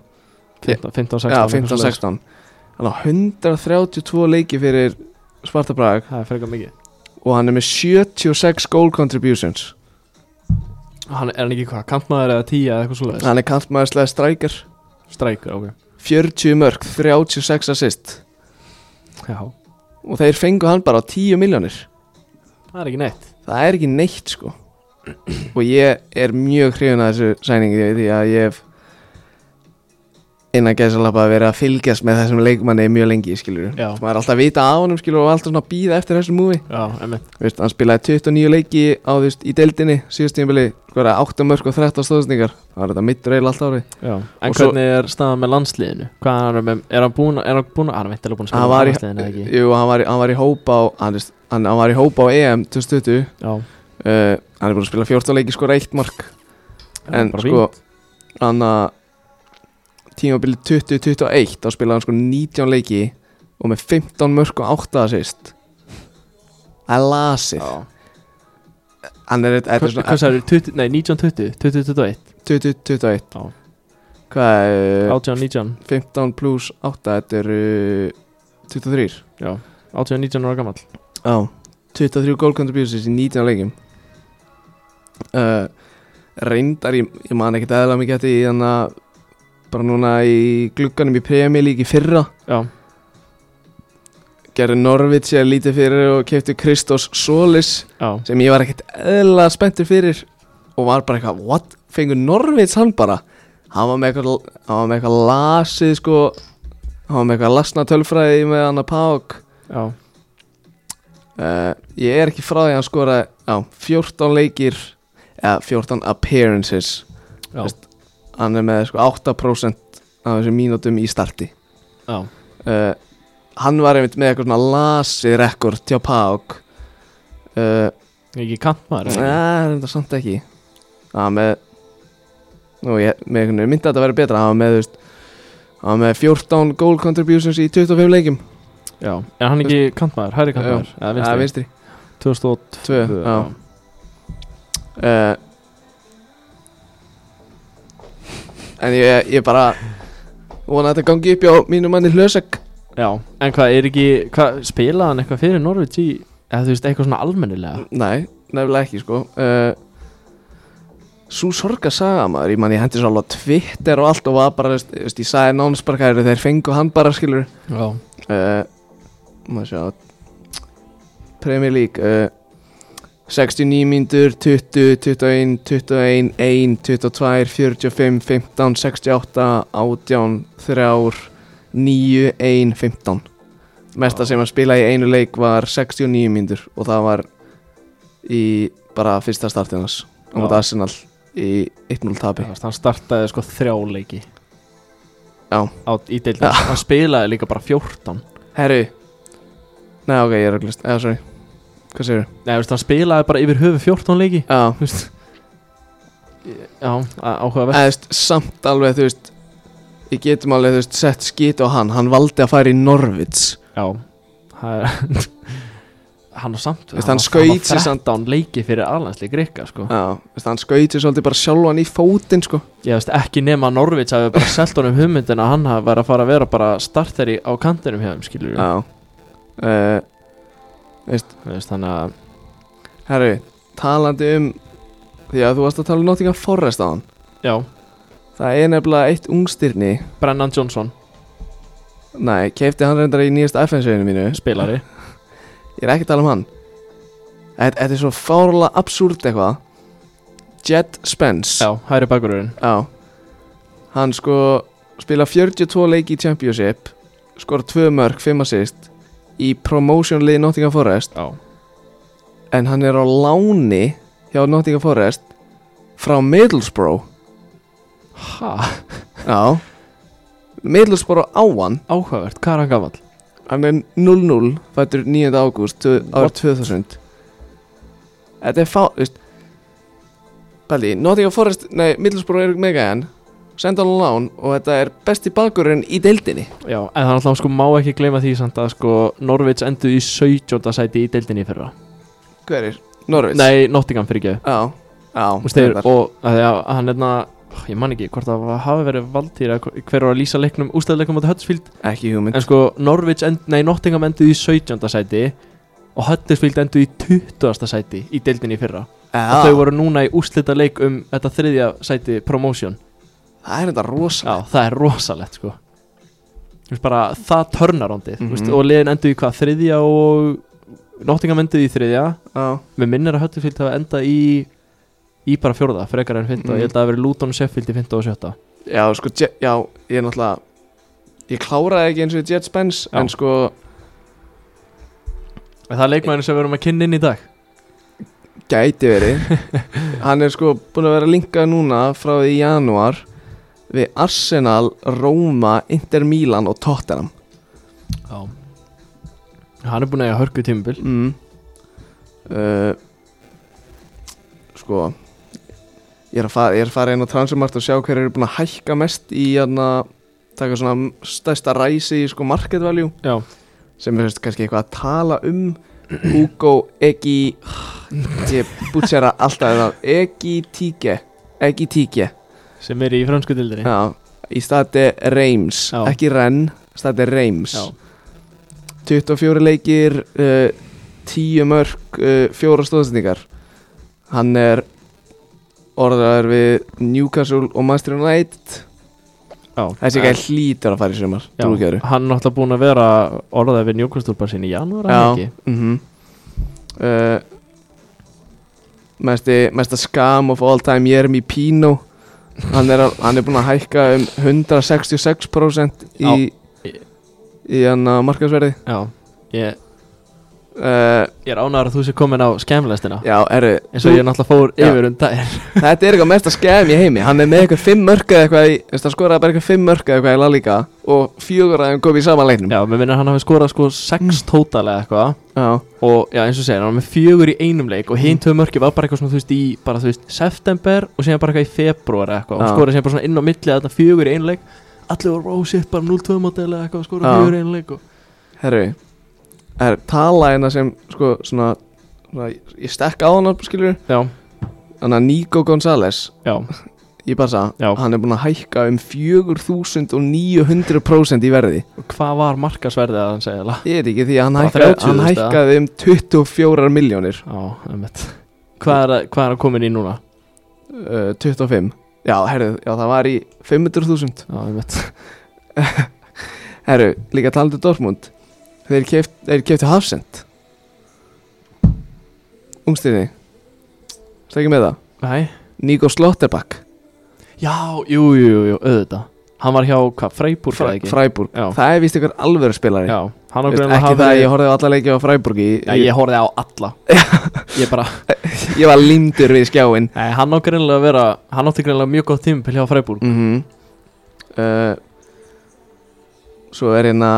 eitthvað 15, 15, 16 Já, eitthvað svoleiðis. 15-16 Hann á 132 leiki fyrir Sparta Prag Það er frekar mikið Og hann er með 76 goal contributions Hann er hann ekki hvað, kantmaður eða tíja eða eitthvað svoleiðis Hann er kantmaðurslega striker Strækur, ok 40 mörg, 36 assist Já, Og þeir fengu hann bara á 10 miljónir það er ekki neitt Það er ekki neitt sko Og ég er mjög hrifun að þessu sæningi Því að ég hef innan gæðsalappa að vera að fylgjast með þessum leikmanni mjög lengi, skilur Já, maður er alltaf að vita á honum skilur og alltaf svona að býða eftir þessu múi já, emmitt Veist, hann spilaði 29 leiki á þú veist í deildinni síðust tímabili, sko er það 8 mörg og 13 stóðsningar, það var þetta mittur eil allt ári já. En Og svo- hvernig er staðan með landsliðinu? Hvað er hann með, er hann búin, er hann búin, hann veit alveg búin að hann spila var, í, með landsliðinu eða ekki jú, hann, var í, hann var í hópa á hann, veist, hann, hann var í hópa á EM 2020 uh, Já, Eh, hann er búin að spila 14 leiki skora eitt mark en bara sko hann að tímabili 2021 þá spilaði hann sko 19 leiki og með 15 mörg og 8 assist það er lasið Já. hann er, þetta er Hvað hvað sagðirðu, 20 nei, 1920, 2021 2021 Já. Hvað eh, er 18-19 15 pluss 8 Þetta eru uh, 23 Já, 18-19 ára gammal Já 23 goal contributions í 19 leikim uh, Reyndar ég, ég man ekkert eðla mikið eftir í þannig að bara núna í glugganum í Premier League í fyrra Já, gerði Norvits ég lítið fyrir og kefti Kristos Solis já, sem ég var ekkert eðla spenntur fyrir og var bara eitthvað, what, fengur Norvits hann bara hann var með eitthvað, hann var með eitthvað lasið sko hann var með eitthvað lasna tölfræði með hann að pák já uh, ég er ekki frá því að hann skora á 14 leikir eða 14 appearances Já, Veist, hann er með sko 8% af þessum mínútum í starti já, uh, hann var einmitt með eitthvað svona lasið rekord hjá pák uh, ekki Nei, kantmaður það eða ekki? er þetta eh, samt ekki Það var með Nú, ég með einhvern veginn myndi að þetta verið betra Það var með, þú veist Það var með 14 goal contributions í 25 leikum Já, er hann ekki kantmaður, hæri kantmaður Eða Það er vinstri, vinstri 2002 Tvö, já uh, En ég, ég bara Vona að þetta gangi upp hjá mínu manni Hlösek Já, en hvað er ekki, hvað spilaði hann eitthvað fyrir Norvíts í, eða þú veist, eitthvað svona almennilega? Nei, nefnilega ekki, sko uh, Sú sorga saga maður Ég man, ég hendi svo alveg á Twitter og allt Og var bara, þú veist, ég sagði nánsparkæri Þeir fengu hann bara, skilur Já, uh, maður sjá Premier League uh, 69 mínútur 20, 21, 21 1, 22, 45, 15 68, 18 3, 9 1, 15 mesta Já. sem að spila í einu leik var 69 mínútur og það var í bara fyrsta startinans á Já. móti Arsenal í 1-0 tapi Þannig hann startaði sko þrjá leiki Já. á, Í deildin, hann spilaði líka bara 14 Herru Nei ok, ég er að glist, eða sorry Hvað segirðu? Nei, veist, hann spilaði bara yfir höfu 14 leiki Já, Þú veist Já, Eða, áhuga þú veist, samt alveg, þú veist Ég getum alveg, þú veist, sett skýt á hann Hann valdi að fara í Norvits Já það er- Hann á samt Veist, hann skaut sig sig samt- samt án leiki fyrir aðlandsli grikka sko. Já, veist, hann skauti svolítið bara sjálfan í fótinn sko. Ég veist ekki nema Norvits að við bara selt honum hugmyndin að hann hafi verið að fara að vera bara starteri á kantinum hjá þeim skilur Já uh, veist, Þannig að Herru, talandi um Því að þú varst að tala um Nottingham Forest á hann Já, Það er nefnilega eitt ungstyrni Brennan Johnson, Nei, keipti hann reyndar í nýjast FN-sveinu mínu spilari Ég er ekki að tala um hann Þetta þetta er svo fárlega absúrt eitthvað Jed Spence Já, hæri bakururinn Já. Hann sko spila 42 leiki í Championship skora 2 mörg, 5 assist í promotion liði Nottingham Forest Já, en hann er á láni hjá Nottingham Forest frá Middlesbrough ha, Já Middlesbrough á hann áhugavert, hvað er hann gamall? hann er 0-0 fættur 9. ágúst árið What? 2000 Þetta er fá veist, Paldi, Nottingham Forest nei, Middlesbrough er mega hann senda hann á lán og þetta er besti bakurinn í deildinni Já, en það er alltaf sko má ekki gleyma því samt að sko Norvits endur í 17. sæti í deildinni í fyrra Hverir? Norvits? Nei, Nottingham fyrir ekki Já, já Vist, þeir, reyndar. og að því að hann er ég man ekki hvort það hafi verið valdýr eða hver var að lýsa leiknum ústæðleikum á Huddersfield Ekki hugmynd en sko Norwich end, nei Nottingham enduð í 17. sæti og Huddersfield enduð í 20. sæti í deildinni í fyrra og þau voru núna í úslita leik um þetta þriðja sæti promotion Það er þetta rosa já það er rosalegt sko Þú veist bara það törnaróndið mm Mhm. -hmm. og liðin enduð í hvað þriðja og Nottingham enduð í þriðja Já, Mér minnir að Huddersfield hafa endað í í bara fjórða, frekar en fynda Mm. ég held að það hafi verið Luton og Sheffield í fynda og sjötta já sko, Je- já, ég er náttúrulega Ég kláraði ekki eins og Jet Spence Já. En sko, En það er leikmæður sem við erum að kynna inn í dag gæti verið Hann er sko búin að vera linkað núna Frá því í janúar Við Arsenal, Roma, Inter Milan og Tottenham Já Hann er búin að eiga hörku tímubil mm. uh, Sko Ég er að fara, ég er að fara inn á transumart og sjá hverju eru búin að hækka mest í hérna taka svona stærsta ræsi í sko market value Já sem er þú veist, kannski eitthvað að tala um Hugo Egi ég bútsera alltaf hérna, það Egi Tíke Egi Tíke Sem er í fransku dildinni Já, í stati Reims Já. ekki Renn, stati Reims 24 leikir uh, 10 mörg uh, 4 stóðsendingar hann er orðaður við Newcastle og Manchester United Já þessi ekki hlýtur að fara í sumar Já, trúkjöru hann er náttúrulega búin að vera orðað við njókustúrpar sinni í janúar er það Já, ekki? mhm uh, mesti, Mesta skam of all time Jeremy Pino Hann er, að- hann er búin að hækka um 166% í, í hann að markaðsverði Já Ég, uh, ég er ánægður að þú sé komin á skemlæstina Já, erðu eins og ég náttúrulega fór Já. yfir um daginn Þetta er eitthvað mesta skam í heimi Hann er með eitthvað fimm mörka eitthvað í veist, Hann skoraði bara eitthvað fimm mörka eitthvað í lalíka Og fjögur að hann kom í saman leiknum Já, mér minnir að hann hafi skorað sko 6 mm. tótalega eitthvað Já, og já eins og segja, hann var með fjögur í einum leik og Mm. hinn tvö mörki var bara eitthvað svona þú veist í bara þú veist september og síðan bara eitthvað í februar eitthvað og Já. skoraði síðan bara svona inn á milli þarna fjögur í einum leik allir voru oh shit bara 0-2 mótel eitthvað og Já. skoraði fjögur í einum leik og... herru Herru, tala hérna sem sko svona, svona Ég stekka á hann skilur já, Þannig að Nico González já, Ég bara sagði, Já. hann er búin að hækka um 4900% í verði og hvað var markasverðið að hann segja það Ég veit ekki því að hann, Bara hækkaði, hann 30 þúsund, eða? hækkaði um 24 miljónir já, emmitt hvað er, að- hvað er hann komin í núna uh, 25 Já, herru, já, það var í 500.000 já, emmitt Herru, líka talandi um Dortmund Þeir keft, þeir kefti Hafsend Ungstinni Stekki með það nei, Nico Slotterback já, jú, jú, jú, jú auðvitað hann var hjá hvað, Freiburg eða ekki Freiburg Já. Það er vist ykkur alvöru spilari já, um hann Veist, okkur Ekki það að ég horfði á alla leikja á Freiburg í, já, ég horfið á alla ég bara ég var lindur við skjáinn Nei, hann átti greinlega að vera Hann átti greinlega mjög gott tímpil hjá Freiburg mm uh, Svo er hérna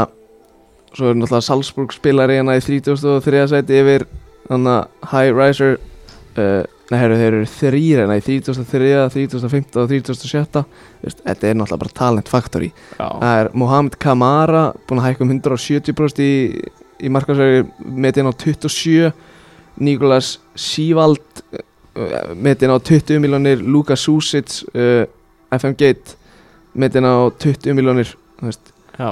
Svo er náttúrulega Salzburg spilari hérna í 33. sæti yfir Þannig að High Riser uh, Nei, herru, þeir eru þrýr hérna í 33, 35 og 36 Þú veist, Þetta er náttúrulega bara talent factory Já, Það er Mohamed Kamara búinn að hækka um 170% í, í markasæri metin á 27 Nikolas Sívald metin eh, á 20 miljónir Luka Susic uh, FM Gate metin á 20 miljónir Þú veist, já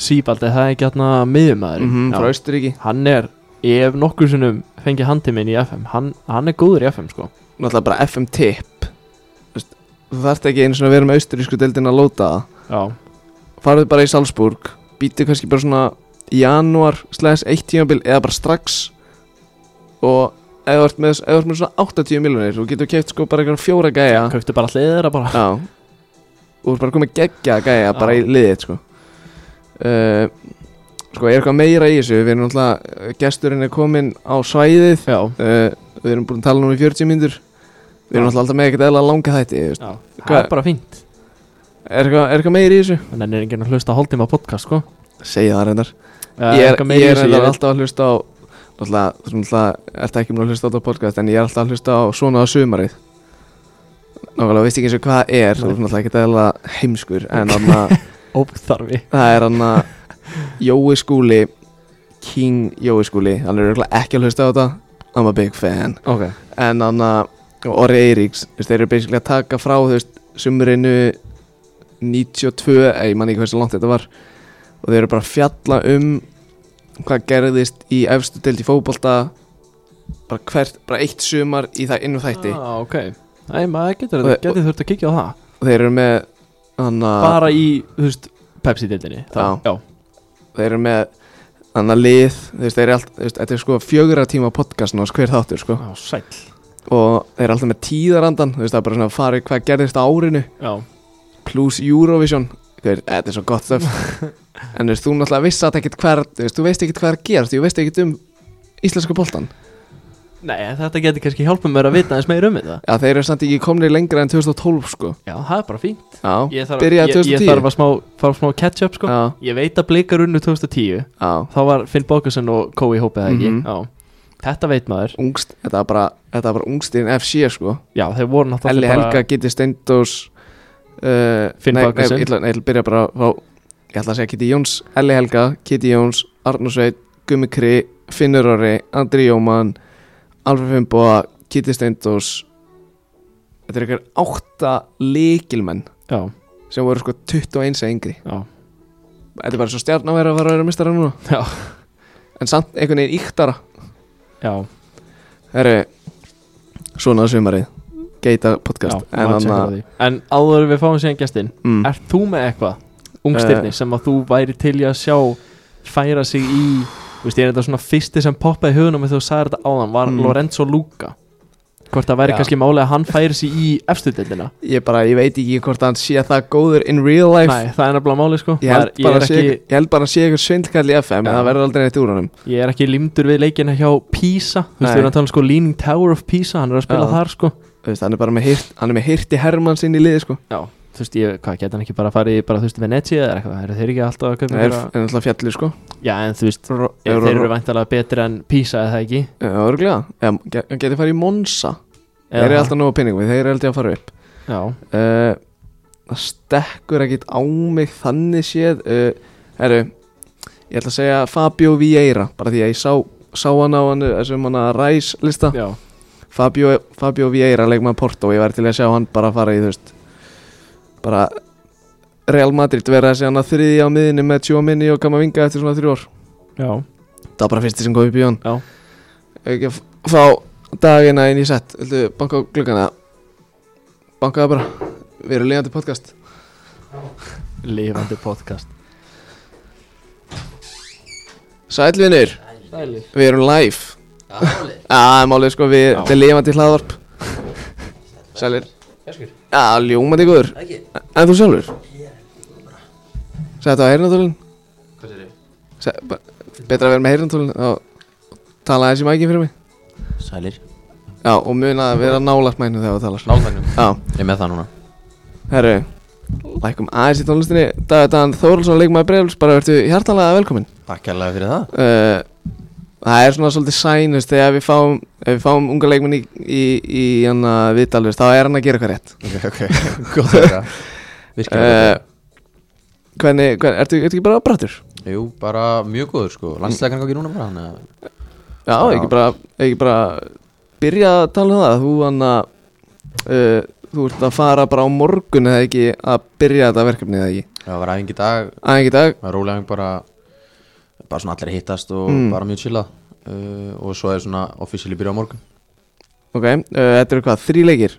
Sýbald, er það ekki hérna miðumæður mm frá Austuríki Hann er, ef nokkur sinnum fengi hann til minn í FM hann, hann er góður í FM sko náttúrulega bara FM tip Þú veist, þú þarft ekki einu svona að vera með austurísku deildin að lóta það Já, farðu bara í Salzburg býtu kannski bara svona í janúar slæðis eitt tímabil eða bara strax og ef þú ert með, ef þú ert með svona 80 miljonir þú getur keft sko bara einhvern fjóra gæja kauptu bara allir þeirra bara já og þú ert bara komið geggja gæja bara Já. í liðið sko uh, sko er eitthvað meira í þessu við erum náttúrulega gesturinn er kominn á svæðið Já, uh, Við erum búin að tala nú í 40 mínútur Við erum Já. alltaf alltaf með ekkert eðla langa þætti þú veist. já það Hvað- er bara fínt Er eitthvað- er eitthvað meir í þessu? En hann er enginn að hlusta hálftíma podcast sko Segja það reyndar Eh, Ég er, eitthvað meira ég í er þessu, reyndar ég- alltaf að hlusta á Náttúrulega, þú náttúrulega ert ekki mér að hlusta á þetta podcast En ég er alltaf að hlusta á svona á sumarið Nákvæmlega, veist ekki eins og hvað það er Þú Nei. erum náttúrulega ekkert eðla heimskur En þarna, Óþarfi það er hann Jói Skúli King Jói Skúli Hann er örugglega ekki að hlusta á þetta I'm a big fan Ok en anna Orri Eiríks, þú veist, þeir eru basically að taka frá þú veist, sumurinu 92, eða eh, ég man ekki hversu langt þetta var og þeir eru bara að fjalla um hvað gerðist í efstu deild í fótbolta bara hvert, bara eitt sumar í það innum þætti ah, ok Nei, maður getur, Og- getur þurft að kikja á það og þeir eru með anna, Bara í, þú veist, Pepsi-dildinni Ah. Já. já þeir eru með anna lið, þú veist, þeir eru allt þú veist, þetta er sko fjögurra tíma podcast nú hver þáttur sko, Já, sæll og þeir eru alltaf með tíðarandan þú veist, það er bara svona að fara í hvað gerðist á árinu Já, plus Eurovision Hver, þetta er svo gott stöf en þú veist, þú náttúrulega vissi að ekkert hver þú veist, þú veist ekkert hvað er að gera þú veist ekkert um íslenska boltan nei, en þetta getur kannski hjálpað mér að vita aðeins meir um þetta já, þeir eru samt ekki komni lengra en 2012 sko Já, það er bara fínt já, Ég þarf, Byrjaði ég, ég 2010. þarf að smá, fara smá catch-up sko já, Ég veit að blikar unnu 2010 já Þá var Finn Bókusen og Kói hópið það ekki Mhm. Já, þetta veit maður ungst, þetta var bara, þetta var bara ungstin FC sko Já, þeir voru náttúrulega Elli Helga, Gitti Steindós uh, Finn nei, Bakkason. nei, ég ætla- nei, ég ætla að byrja bara á ég ætla að segja Kitty Jóns, Elli Helga, Kitty Jóns Arnur Sveit, Gummi Kri Finnur Orri, Andri Jóman Alfred Fimboa, Kitty Steindós þetta eru ykkur átta leikilmenn Já, sem voru sko 21 eða yngri já, þetta er bara svo stjarn að vera að vera að vera mistara núna Já. en samt einhvern veginn yktara já herru, svona er sumarið geita podcast já, en, annað- anna... en áður en við fáum síðan gestinn mm. Eh. Ert þú með eitthvað ungstirni sem að þú væri til í að sjá færa sig í Þú veist, ég er þetta svona fyrsti sem poppaði í hugunum þegar þú sagði þetta áðan var Mm. Lorenzo Luca Hvort það væri Já. kannski máli að hann færi sig í efstudeldina Ég bara, ég veit ekki hvort hann sé það góður in real life Nei, það er nefnilega máli sko Ég held, Maður- ég, bara að er sé, ekki, ég held bara að sé eitthvað svindlkall í FM Já. en það verður aldrei neitt úr honum ég er ekki límdur við leikina hjá Pisa Þú veist, Nei. við erum að tala um sko Leaning Tower of Pisa Hann er að spila Já. þar sko Þú veist, hann, er bara með hirt, hann er með hirti Hermann sinni í liði sko. Já, þú veist, ég, hvað, geta hann ekki bara að fara í bara, þú veist, Venezia eða eitthvað Eru þeir ekki alltaf að Það köpa er bara- er náttúrulega fjallir sko. Já, en þú veist, Þeir þeir eru væntalega betri en Pisa eða það ekki Örglega, hann getur farið í Monsa Þeir Eða eru það? alltaf nógu penning við, þeir eru aldrei að fara upp Já, uh, Það stekkur ekkit á mig þannig séð uh, Herru, ég ætla að segja Fabio Vieira Bara því að ég sá, sá hann á hann þessum hann að ræs lista já Fabio, Fabio Vieira leikmann Porto ég væri til að sjá hann bara fara í þú veist bara Real Madrid vera þessi hann að þriði á miðinni með Tjóminni og Kamavinga eftir svona þrjú ár Já, það var bara fyrsti sem kom upp í hann Já. Ef ekki að f- fá dagina inn í sett Vildu banka á gluggana bankaða bara við erum leiðandi podcast lifandi podcast Sælvinir, Sælir við erum live Já, málið sko, við, þetta er leiðandi hlaðvarp Sælir Já, ljómandi góður En þú sjálfur? Sættu á heyrnatólin? Hvað er þið? Se- ba- betra að vera með heyrnatólin og tala þessi mækin fyrir mig Sælir já, og muna að vera nálagt mæknum þegar þú talar Nálmænum já, Ég er með það núna herru lækum aðeins í tónlistinni Dagur Dan Þóralsson, leikmaður Breifls bara verðu hjartalega velkomin Takk kærlega fyrir það uh, það er svona svolítið sæn veist, þegar við fáum, ef við fáum unga leikmenn í, í, í hann að viðtal veist, þá er hann að gera eitthvað rétt Ok, ok, gott að vera Eh, Virkilega hvernig, hvernig, ertu, ertu ekki bara brattur? gott. Jú, bara mjög góður sko Landslega gangi núna bara hann Já, Já. Ekki, bara, ekki bara byrja að tala um það þú hann að uh, þú ert að fara bara á morgun eða ekki að byrja þetta verkefni eða ekki Það var æfing í dag aðeins ekki í dag Það var rólega æfing bara Bara svona allir að hittast og Mm. bara mjög chillað uh, Og svo er svona officially byrja á morgun ok, uh, þetta eru hvað, þrý leikir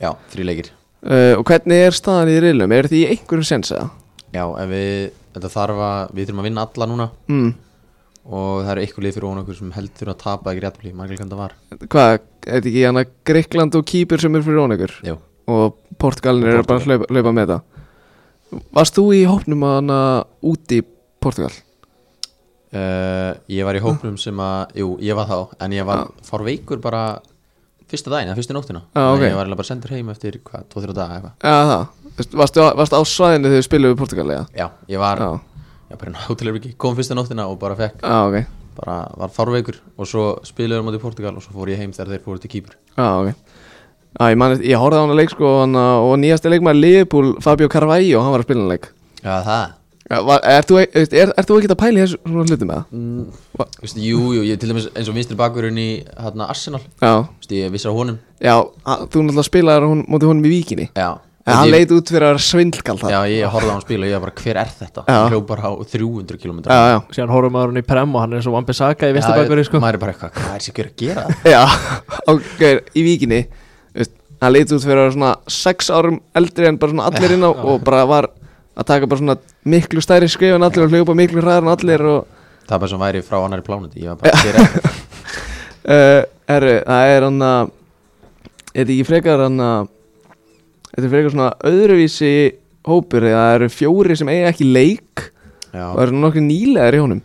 Já, þrý leikir uh, og hvernig er staðan í reilum, er þið í einhverjum sens eða? Já, en við, þetta þarf að, við þurfum að vinna alla núna Mm. Og það eru ykkur lið fyrir ofan okkur sem heldur að tapa ekki rétt blí Mangel kannu það var hvað, er þetta ekki hann að Greikland og Kýpur sem er fyrir ón ykkur Jú og Portugalin eru bara að hlaupa, hlaupa með það Varst þú í hópnum að hana úti í Portugal? Uh, ég var í hópnum sem að, jú, ég var þá En ég var, fór veikur bara Fyrsta daginn, eða fyrstu nóttina Já, ok. Þannig að Ég var eiginlega bara sendur heim eftir, hvað, 2-3 daga eitthvað Já það, Vist- varstu, á- varstu á svæðinu þegar við spilum við Portugal eða? Já, ég var, Já, já, bara náttúrulega ekki Kom fyrsta nóttina og bara fekk, já ok, bara var fárveikur Og svo spilaði um átti Portugal og svo fór ég heim þegar þeir fóru til Kýpur já ok Já, ég, man, ég horfði á hana leik sko hana, og nýjasti leikmaður Liverpool, Fabio Carvalho, hann var að spila hana leik Já, það Já, var- Ert þú, er, er, er þú ekki að pæla í þessu svona hlutum með það? mm. Va- Vistu, Jú, jú, ég til dæmis eins og vinstri bakurinn í hérna, Arsenal Já, Vistu, Ég vissi á honum já, hann- þú náttúrulega spilaði hún, móti honum í víkinni Já, En hann ég, leit út fyrir að vera svindlkall það já ég horfði á hann spila og ég var bara, hver er þetta? Já. Ég hljóp bara á 300 km já, já, síðan horfum maður hann í prem og hann er eins og Wambisaka í Vestabakur sko. maður er bara eitthvað, hvað er sér að gera það? Já, ok, í víkinni veist, hann leit út fyrir að vera svona sex árum eldri en bara svona allir inn á og bara var að taka bara svona miklu stærri skrif en allir og hljópa miklu hraðar en allir og það er bara sem væri frá annari plánuti ég var bara fyrir ekkert uh, herru, það er hann að þetta er ekki frekar hann að þetta er frekar svona öðruvísi hópur, eða það eru fjóri sem eiga ekki leik já, og það eru nokkri nýlegar í honum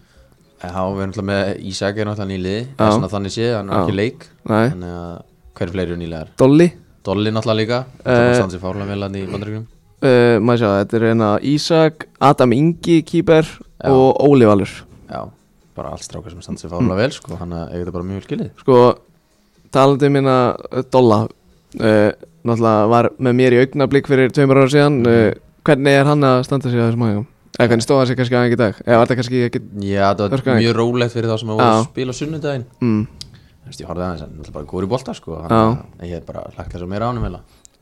en þá við erum alltaf með Ísak er náttúrulega nýliði Já. það er svona þannig séð, hann er Já. ekki leik Nei, þannig að hver fleiri er nýlegar Dolly Dolly náttúrulega Eh. líka, það er stansi fárlega vel hann í bandaríkjum uh, maður sjá, þetta er hann að Ísak Adam Ingi, Kýber Já. og Óli Valur já, bara allt strákar sem stansi Mm. fárlega vel sko, hann er þetta bara mjög vel skilið sko talandi um hérna uh, Dolla uh, náttúrulega var með mér í augnablík fyrir tveimur ára síðan uh, hvernig er hann að standa sig á þessum hægum eða hvernig stóða sig kannski aðeins í dag eða var þetta kannski ekki já, það var Örkaði. mjög rólegt fyrir þá sem að voru Já. að spila á sunnudaginn mm, Þú veist, ég horfði aðeins, hann er náttúrulega bara góður í bolta sko, hann Já. Mhm. að ég hef bara lagt þessu meira ánum heila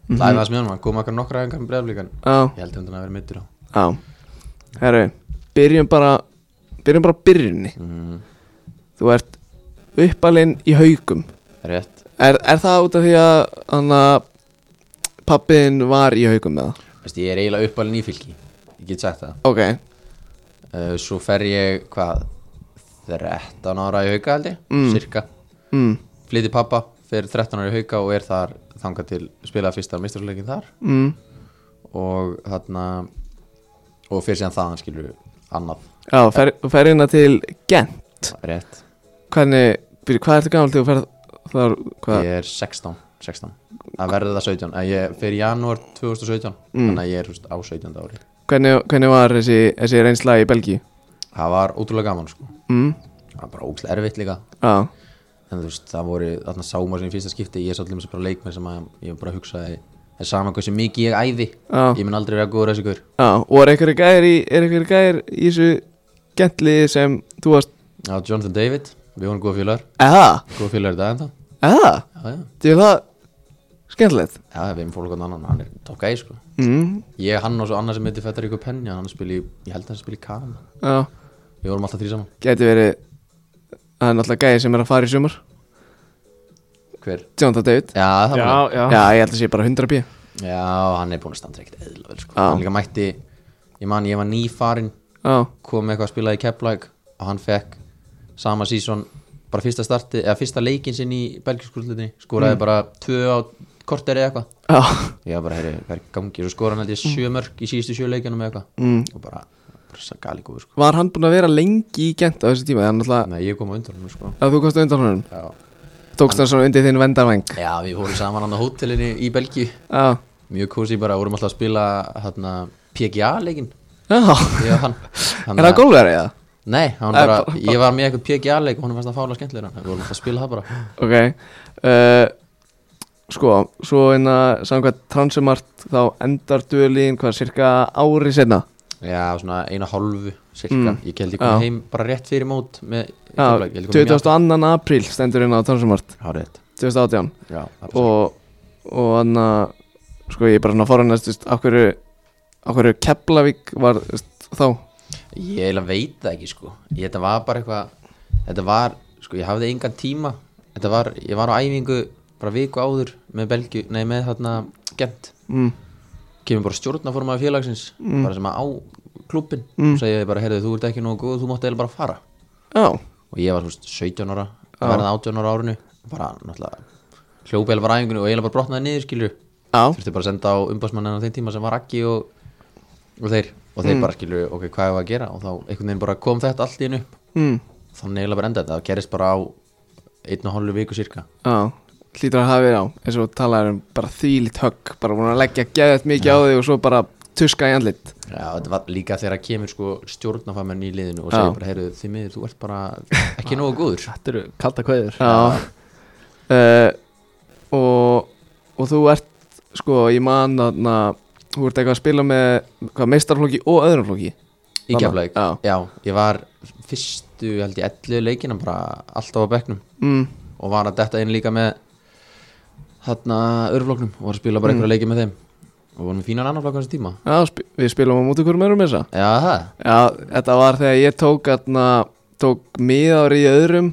Það er það sem ég hann, hann kom akkar nokkra engar með breyðlíkan á, Ég held að hann að vera mittur á á herru, byrjum bara byrjum bara á byrjunni mm, þú ert uppalinn í haugum Rétt er, er það út af því að hann að pappiðin var í haugum með það Þú veist, ég er eiginlega uppalinn í fylki Ég get sagt það ok, uh, Svo fer ég, hvað 13 ára í hauka held ég Mm. Cirka mm, Flytti pappa, fer 13 ára í hauka og er þar Þangað til spilaði fyrsta mistrúleikin þar mm, Og þarna Og fyrir síðan þaðan skilur annað já, fer, þú fer hérna til Gent Rétt Hvernig, byrju, hvað ertu gammal til að ferð þar, hvað? Ég er 16, 16 Að verða það 17 að Ég fer í janúar 2017 Mm. Þannig að ég er þú veist, á 17 ári Hvernig, hvernig var þessi, þessi reynsla í Belgíu? Það var ótrúlega gaman sko Mm, Það var bara ókslega erfitt líka á, en þú veist, það voru þarna sáma sem í fyrsta skipti, ég er svolítið með sem bara leikmenn sem að ég bara hugsaði, það er sama hversu mikið ég æði, á, ég mun aldrei vera góður þessi gaur, á, og er einhverju gæðir í, er einhverju gæðir í þessu gentli sem þú varst, já, Jonathan David við vorum góða félagar, eða, góða félagar í dag en það, eða, já, já, þetta er það skemmtilegt. já, við erum fólk og annan, hann er top gæði, sko, Mm, ég, hann og svo annar sem heitir Federico Penja, hann spili, í- ég held að hann spili í Kama, á, við vorum alltaf þrý saman, geti verið, það er náttúrulega gæði sem er að fara í sumar, hver, Jonathan David. já, það var já, hann. já, Já, ég held að sé bara 100 pí. já, hann er búin að standa ekkert eðla vel, sko, Já. hann líka mætti, ég man, ég var nýfarin, Á, kom með eitthvað að spila í Keflæk og hann fekk sama sísón bara fyrsta starti, eða fyrsta leikin sinn í belgiskurslutinni, skoraði bara tvö á korteri eða eitthvað á, ég var bara, heyri, hvað er í gangi, svo skoraði hann held ég sjö mörg í síðustu sjö leikinum eða eitthvað mm, og bara, bara svo gali góður sko var hann búin að vera lengi í gent á þessu tíma, það er náttúrulega, Nei, ég kom á undan hann sko að þú kosti undan honum, já. tókst hann svona undir þinn vendarvæng. já, við fórum saman hann á hótelinni í Belgíu Á, mjög kósi bara, vorum alltaf að spila hérna, PGA leikin já, ég og hann Er það að- gólveri eða? Nei, hann Nei, bara, bara- ég var með eitthvað PGA-leik og hann fannst það fála skemmtilega hann, við vorum alltaf að spila það bara Ok uh, Sko, svo einna samkvæmt transumart þá endar duðlíðin hvað cirka ári senna Já, svona eina hálfu, cirka Mm. Ég held ég Já. kom heim bara rétt fyrir mót með Já, Keflavík, ég held ég kom heim í 22. apríl stendur inn á transumart apríl. Já, rétt 2018 Já, það er bara- og, og hann að sko ég er bara svona forannast þú veist, af hverju, af hverju Keflavík var þú veist, þá Ég eiginlega veit það ekki, sko ég, Þetta var bara eitthvað Þetta var, sko, ég hafði engan tíma Þetta var, ég var á æfingu bara viku áður með Belgju, nei, með þarna gent, mm, kemur bara stjórnaformaður félagsins, bara sem að á klubbin, Mm. mm. segja bara, heyrðu, þú ert ekki nógu góð, þú mátt eiginlega bara fara Já, og ég var þú veist, 17 ára að verða 18 ára á árinu bara náttúrulega hljópa eða var æfingunni og eiginlega bara brotnaði niður skilur já, þurfti bara að senda á umbásmannina á þeim tíma sem var Raggi og, og þeir og Mm. þeir bara skilur, ok, hvað hefur að gera og þá einhvern veginn bara kom þetta allt í hennu mm, þannig eiginlega bara enda þetta, það gerist bara á einn og hálfu viku cirka já hlýtur að hafa verið á eins og talaður um bara þvílitt högg bara búin að leggja geðið mikið á þig og svo bara tuska í andlit Já, þetta var líka þegar að kemur sko stjórnafamenn í liðinu og Já. segir bara, heyrðu, þið miður, þú ert bara ekki nógu góður Þetta eru kalda kveður Já uh, og, og þú ert sko, ég man þarna þú ert eitthvað að spila með hvað, meistarflóki og öðrum flóki í Þarna, Keflavík, já. já, ég var fyrstu, held ég, 11 leikina bara alltaf á bekknum mm, og var að detta inn líka með þarna örfloknum og var að Mm. spila bara einhverja leiki með þeim og vorum við fínan annar flokk á þessu tíma já, sp við spilum á móti hverjum öðrum þessa Já, það, já, þetta var þegar ég tók þarna, tók miðári í öðrum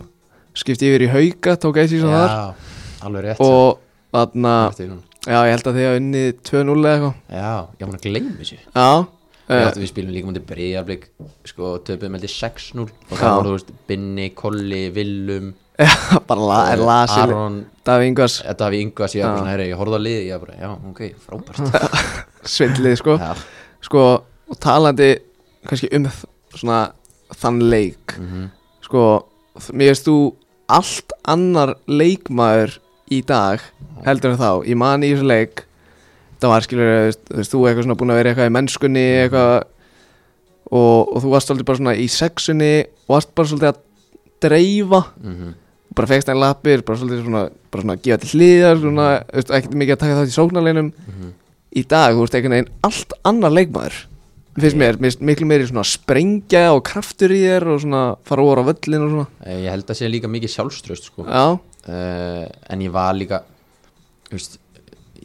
skipti yfir í hauka, tók eitt síðan þar já alveg rétt og þarna, Rétt í honum. já, ég held að þið hafa unnið 2-0 eða eitthvað Já, ég var að gleyma þessu já, Við uh, áttum- Við spilum líka mútið breyðarblik sko, töpuðum heldur 6-0 og Já. það voru, þú veist, Binni, Kolli, Willum já bara la eh, lasi Aron, Davi Ingvars, þetta hafi yngu að sé Já. ég horfði á liði, ég var bara, já, ok, frábært svindlið sko Já, sko, og talandi kannski um þ- svona þann leik mhm. sko, þ- mér veist þú allt annar leikmaður í dag heldur en þá ég man í þessu leik það var skilur, þú veist, þú eitthvað svona búin að vera eitthvað í mennskunni eitthvað og, og þú varst aldrei bara svona í sexunni og varst bara svolítið að dreifa mhm. bara fegst einn lappir, bara svolítið svona bara svona að gefa til hliðar, svona þú veist, ekkert mikið að taka þátt í sóknarleinum í dag, þú veist, einhvern veginn allt annar leikmaður finnst mér, mér finnst miklu meiri svona sprengja og kraftur í þér og svona fara úr á völlin og svona Eh, Ég held að sé líka mikið sjálfströst sko. já, uh, en ég var líka þú veist,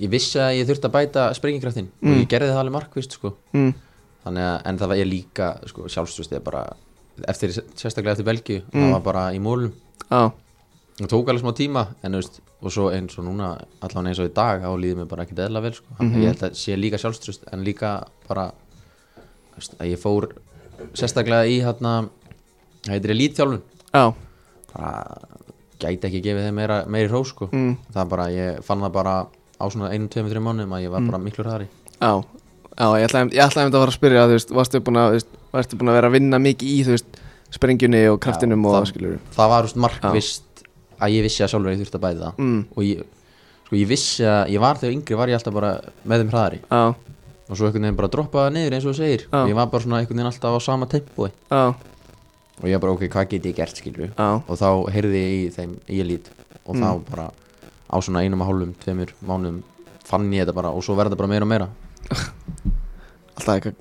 ég vissi að ég þurfti að bæta sprenginkraftin og ég gerði það alveg markvist sko. mm, þannig að, en það var ég líka sko, sjálfstöðst ég bara eftir, sérstaklega eftir Belgíu, það var bara í mólum já, það tók alveg smá tíma en, þú veist, og svo eins og núna, allan eins og í dag þá líði mér bara ekki deðla vel sko. mm ég held að sé líka sjálfströst en líka bara þú veist, að ég fór sérstaklega í hérna, það heitir elítþjálfun já, bara gæti ekki gefið þeim meira, meiri hrós sko. Mm. það bara, ég fann það bara á svona einum, tveim, þreim mánuðum að ég var bara miklu hraðari já já, ég ætlaði einmitt- ég ætlaði einmitt að fara að spyrja þú veist, varstu búin að, þú veist, varstu búin að vera að vinna mikið í, þú veist, sprengjunni og kraftinum og það- skilur það var úst, markvist að ég vissi að sjálfur ég þurfti að bæta það mm, og ég, sko, ég vissi að ég var þegar yngri var ég alltaf bara með þeim hraðari já, og svo einhvern veginn bara droppaði niður eins og þú segir Já. og ég var bara svona einhvern veginn alltaf á sama tempói já, og ég var bara ok, hvað get ég gert já skilur Mm. og þá heyrði ég í þeim í elít og þá bara á svona einum og hálfum, tveimur mánuðum fann ég þetta bara og svo verða bara meira og meira alltaf eitthvað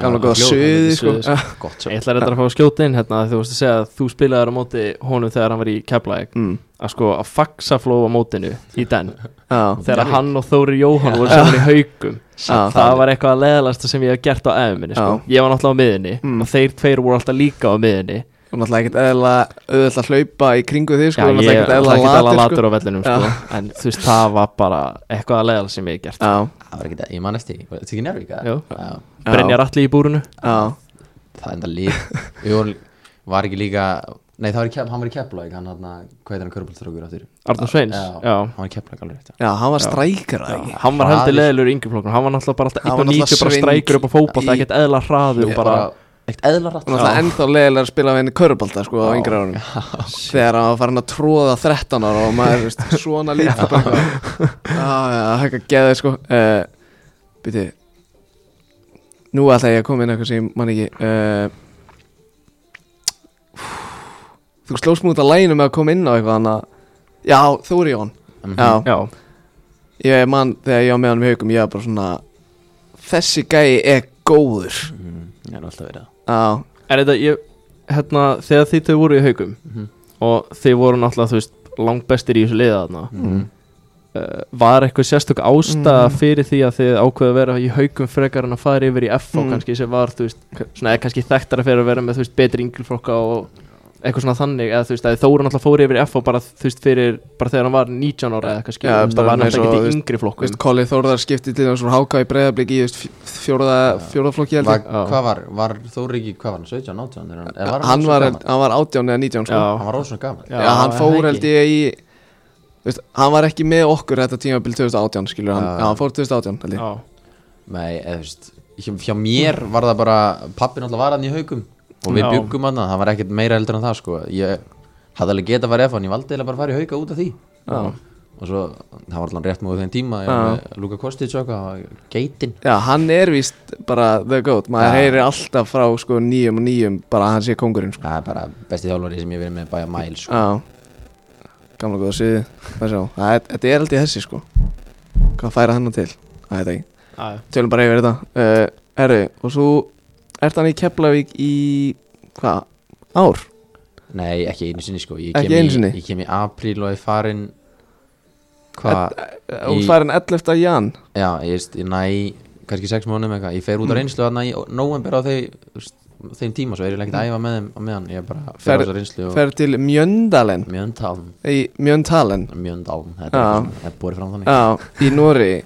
gamla Já, góða hljóð- suði, sko suðið, sko. Já, gott Ég ætla þetta að fá að skjóta inn hérna Þú veist að segja að þú spilaðir á móti honum þegar hann var í Keflæk mm, að sko að faxa fló á mótinu í den já, þegar hann og Þóri Jóhann voru saman í haukum já, það var eitthvað að leðalasta sem ég hef gert á æfuminni sko. ég var náttúrulega á miðinni Mm. og þeir tveir voru alltaf líka á miðinni og náttúrulega ekkert eðla auðvitað að hlaupa í kringu þig, Já, sko ég náttúrulega ekkert náttúrulega eðla ekki alveg latur, sko latur á vellinum sko. en þú veist það var bara eitthvað að leðalasta sem ég hef gert Já, Það var ekki það, ég man eftir, því. var þetta ekki Njárvík? eða? Jú. Já, Já. Brynjar allir í búrinu já, það enda líf Við vorum, var ekki líka, nei það var í kef, hann var í Keflavík, hann hann, hvað er hann, Körbóltrókur áttur Arnur Sveins Já, já. hann var í Keflavík alveg rétt já. já, hann var strækir það ekki hann var heldur Hraður. leðalur í yngjaflokkun hann var náttúrulega bara alltaf Hann var 1.90 bara náttúrulega strækur upp á fótball svindl í- ekkert eðla hraður og Bara, bara eitt eðlarætt Og náttúrulega ennþá leiðilega að spila við henni körubalta sko á Já. yngra árum Þegar hann var farin að tróða 13 ára og maður, veist, svona lítið bara eitthvað. Já, já, hækka geðið sko uh, Býti eh, Nú ætla ég að koma inn á eitthvað sem ég man ekki uh, þú slóst mig út af læginu með að koma inn á eitthvað þannig að, já, þú er Jón Mhm. Já, Já, ég man þegar ég var með hann með haugum, ég var bara svona þessi gæi er góður Mhm. Það er alltaf verið það Já, en þetta ég hérna, þegar þið þau voru í haukum Mhm. og þið voru náttúrulega, þú veist, langbestir í þessu liða þarna Mhm. uh, var eitthvað sérstök ástæða Mm. fyrir því að þið ákveðu að vera í haukum frekar en að fara yfir í FH Mm. kannski sem var, þú veist, svona eða kannski þekktara fyrir að vera með, þú veist, betri ynglflokka og eitthvað svona þannig, eða þú veist, að Þóra náttúrulega fór yfir í FH bara, þú veist, fyrir, bara þegar hann var 19 ára eða Já, kannski, þú veist, það bara var eins og, náttúrulega þú ekki í veist, yngri Þú veist, flokkum Kolli Þórðar skipti til þessum háka í breyðablík í þú veist, fj- fjórða, fjórðaflokki held Var- ég Já. Hvað var, var Þóri ekki, hvað var hann, 17, 18 er hann, eða var Hann svo var, gamall? hann var átján eða nítján sko Já. Hann var ósvona gaman Já, hann er fór það held ekki? ég í þú veist, Hann var ekki með okkur þetta tímabil 2018 skilur hann, Já. já, hann fór 2018 held ég Já, Nei, eða þú veist hjá, hjá mér var það bara Pappi náttúrulega var hann í haukum Og við Já. byggum hann Það var ekkert meira heldur en það sko Ég hafði alveg getað að fara eða Ég valdi eiginlega bara að fara í hauka út af því Já. Og svo, það var allan rétt múið þeim tíma Ég var með Luka Kostið tjóka Geitin Já, hann er víst bara the goat maður Já. heyrir alltaf frá sko nýjum og nýjum bara að hann sé kongurinn sko. Það er bara besti þjálfari sem ég hef verið með bæja mæl sko. Já Gamla góða síði Það sjá, Það er- þetta er aldrei þessi sko Hvað færa hann til? Það er ekki já, já. Tölum bara yfir þetta uh, Herri, og svo ert hann í Keflavík í Hvað? Ár? Nei, ekki einu sinni sko Ég Ekki kem, einu í, sinni? ég kem í apríl og ég farin Hvað? Þú Í- í... færin 11. jan Já, ég veist, ég næ kannski sex mánuðum eitthvað, ég fer Mm. út á reynslu þarna í november á þeim, þeim tíma svo er ég ekkert að æfa með þeim á meðan ég bara fer á Mm. Fer- þessa reynslu og Fer til Mjöndalen mjöndálm Í Mjöndalen mjöndálm, Já. þetta er svona- það er borið fram þannig Já, í Nóri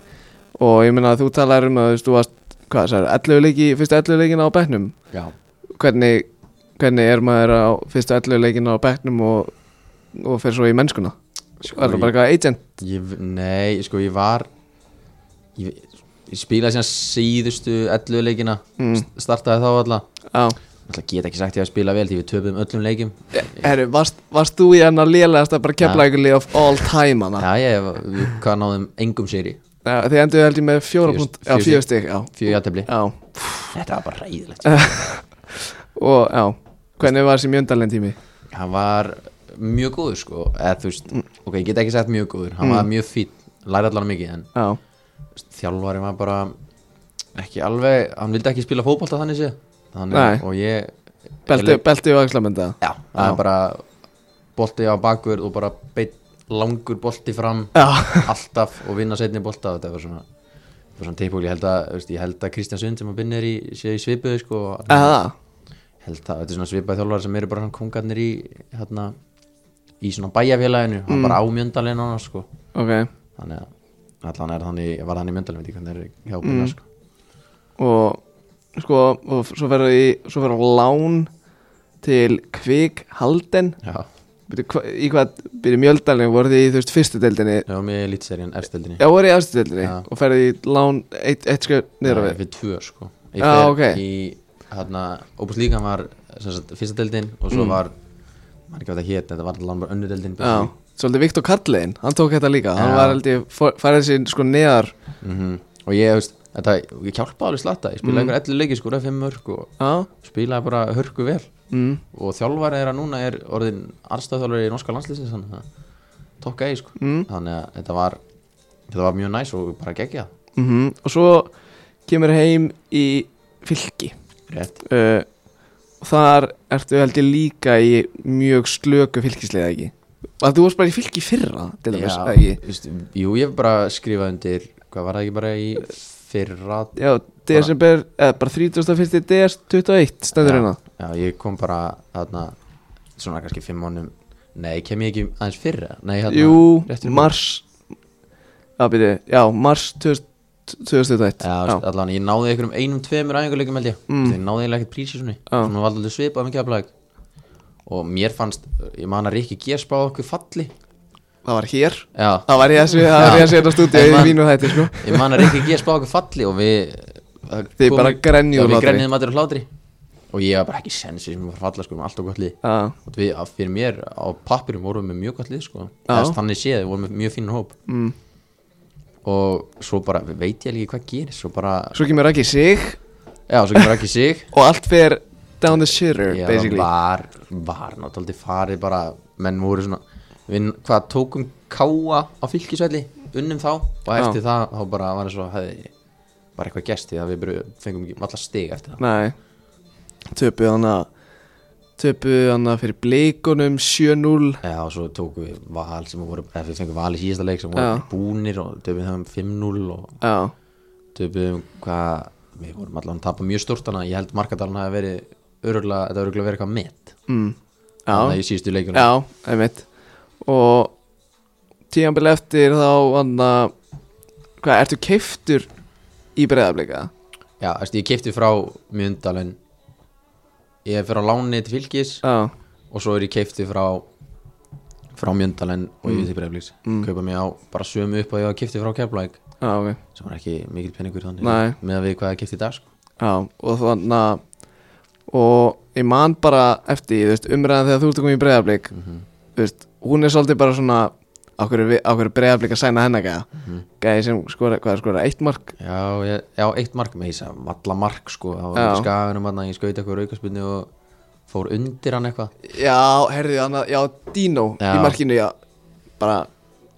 Og ég meina að þú talar um að þú veist, þú varst Hvað, það er 11 leiki, fyrstu 11 leikina á bekknum Já, Hvernig, hvernig er maður á fyrstu 11 leikina á bekknum og, og fer svo í mennskuna? Sko, Sko, er það bara ég, eitthvað agent? ég, nei, sko ég var ég, ég spilaði síðan síðustu 11 leikina Mm. st- startaði þá alla Já Alltaf get ekki sagt ég að spila vel því við töpum öllum leikim Herru, varst, varst þú í hennar lélegasta bara keflækulið of all time hana? Já, ég, við, hvað náðum engum sigri Já, Þið endur held ég með fjóra Fjör- punkt Já, fjör fjóra stig, já, fjögur játefli já Þetta var bara ræðilegt Og já, hvernig var þessi mjöndalinn tími? hann var mjög góður sko eða þú veist, ok, ég get ekki sagt mjög góður hann var mjög fýtt, læra allan mikið en Já, þú veist, þjálfari var bara ekki alveg, hann vildi ekki spila fótbolta þannig sé Nei. þannig, og ég belti, ég leik- belti og axlamönda já, það er bara bolti á bakur og bara beitt langur bolti fram Já, alltaf og vinna setni bolta og þetta var svona var svona teipúli, ég held að, þú veist, ég held að Kristján Sund sem að binna er í, sé í svipuðu sko og hann- eða held það, þetta er svona svipaði þjálfari sem eru bara hann kongarnir í hérna, í svona bæjarfélaginu, hann bara á mjöndalinn annars sko, Ok, þannig að allan er þannig, var hann í mjöndalinn, veit ekki hvernig er hjá byrja sko, og sko, og svo verður í, svo verður á lán til Kvik Halden já, Byrju, hva, Í hvað, byrju mjöldalinn voru þið í þú veist fyrstu deildinni já, með lítserien efstildinni, Já, voru í efstu deildinni Já. og ferði í lán eitt, eitt skjöf niður á við fyrir tvö sko ég Já, fer ok. í, hérna, Opus Líkan var sem sagt, fyrsta deildin og Mm. svo var maður ekki hvað það hét, þetta var allan bara önnu deildin Já, svolítið Viktor Karliðin, hann tók þetta líka Hann Já. var held ég, fór- færði sér sko neðar mm og ég, þú veist, þetta, ég hjálpaði alveg slatta, ég spilaði mm. einhver 11 leiki sko, fimm mörg og Já, spilaði bara hörku vel mm. og þjálfari þeirra núna er orðin arstafþjálfari í norska landslýsins þannig að tokka eigi sko Mm. þannig að þetta var þetta var mjög næs og bara geggja Mm og svo kemur heim í fylki rétt uh, og Þar ertu held ég líka í mjög slöku fylkislega ekki að Þú varst bara í fylki í fyrra til dæmis, eða ekki just, jú ég hef bara skrifað undir hvað var það ekki bara í fyrra Já, desember, eða bara 31. DS 21 stendur hérna já ég kom bara þarna svona kannski fimm mánum nei kem ég ekki aðeins fyrra nei hérna Jú, rétt fyrir mars Já, byrju, já, mars 2000 2021 Já, sko. já. allan, ég náði einhverjum einum, tveimur æfingarleikum held ég Mm. mm. Ég náði eiginlega ekkert prísi svona Já. Svona var alltaf svipað með keflæk Og mér fannst, ég man að Rikki G spáði okkur falli það var hér Já, Það var ég að segja, það var ég að segja þetta stúdíu í En man- mínu hætti, sko ég man að Rikki G spáði okkur falli Og við það Þið kom- bara grenjuðu Já, Við hlátri. grenjuðum allir úr hlátri Og ég var bara ekki sensi sem var að falla sko, við erum alltaf gott lið Já, Og við, að- fyrir mér á pappirum vorum við með mjög gott lið sko Já. Þess, Þannig séð, við vorum með mjög fínan hóp mm. Og svo bara, veit ég ekki hvað gerist Svo bara, Svo kemur ekki sig já, svo kemur ekki sig og allt fer down the shitter Já, basically var, var náttúrulega farið bara, menn voru svona við hvað tókum káa á fylkisvelli, unnum þá og Já. eftir það, þá bara var það svo hefði bara eitthvað gesti það við bara fengum ekki allar stig eftir það Nei Töpuð hana Töpuð hana fyrir bleikunum 7-0 Já, og svo tókum við val sem voru, eða við fengum val í síðasta leik sem voru Já. ekki búnir og töfum þeim 5-0 og Já, töfum hvað, við vorum allan að tapa mjög stórt þannig að ég held markadalinn hafi verið öruglega, þetta öruglega verið eitthvað met mm. þannig að já, ég síðustu leikunum já, einmitt Og tíambil eftir þá hana Hvað, ertu keiftur í breyðablika? Já, þú veist, ég kefti frá Mjöndal en ég fyrir á láni til fylgis Já, og svo er ég kefti frá frá Mjöndal en og ég til breyflíks Mm. kaupa mig á bara sömu upp og ég var kefti frá Keflæk já, ok sem var ekki mikill peningur þannig Nei. með að við hvað ég kefti í dag sko. Já, og þannig að Og ég man bara eftir, þú veist, umræðan þegar þú ert að koma í breyðablik Mhm. Þú veist, hún er svolítið bara svona Á hverju, vi- á hverju breyðablik að sæna hennar gæða mm Mhm. Gæði sem skora, hvað er skora, eitt mark já, ég, já, eitt mark með þess að valla mark sko, það Já. var ekki skaganum að ég skauti eitthvað raukaspunni og fór undir hann eitthvað Já, herðu, hann að, já, Dino Já. í markinu, já Bara,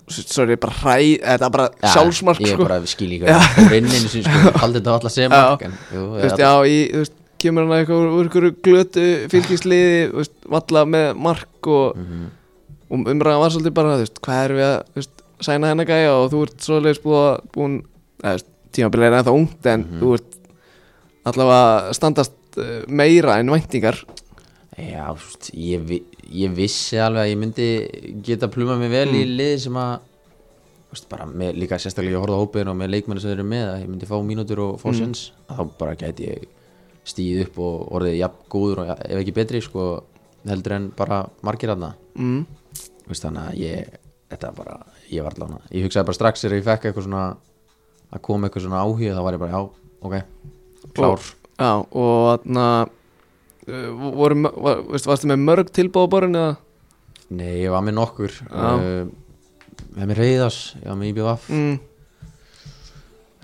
s- sorry, bara hræ, þetta er bara sjálfsmark, ég sko bara skil ekki hvað ég fór inn einu sinni, sko, haldi þetta alltaf Já. sem mark en, jú, Þú ég- veist, já, í, þú veist, kemur hann eitthvað úr- úr ykkur glötu fylgisliði, þú veist, valla með mark og, og umræðan var svolítið bara, þú veist, hvað erum við að, þú veist, sæna hennar gæja og þú ert svolítið búið, búin, eða, þú veist, tímabilið er ennþá ungt en þú ert allavega að standast eh, meira en væntingar Já, þú veist, ég, vi- ég vissi alveg að ég myndi geta pluma mig vel Mm. í liði sem að þú veist, bara með, líka sérstaklega ég horfði á hópiðin og með leikmenni sem þeir eru með að ég myndi fá mínútur og fá mm. sens þá bara gæti ég stíð upp og orðið jafn góður og ja- ef ekki betri sko heldur en bara margir aðna mm. veist, þannig að ég þetta bara, ég var allan að ég hugsaði bara strax þegar ég fekk eitthvað svona að koma eitthvað svona áhuga þá var ég bara já, ok, klár Já, og þarna uh, voru, mö- var, veist, varstu með mörg tilbúð á borun eða? Nei, ég var með nokkur Já. uh, Með mér reyðas, ég var með IBVF Mm,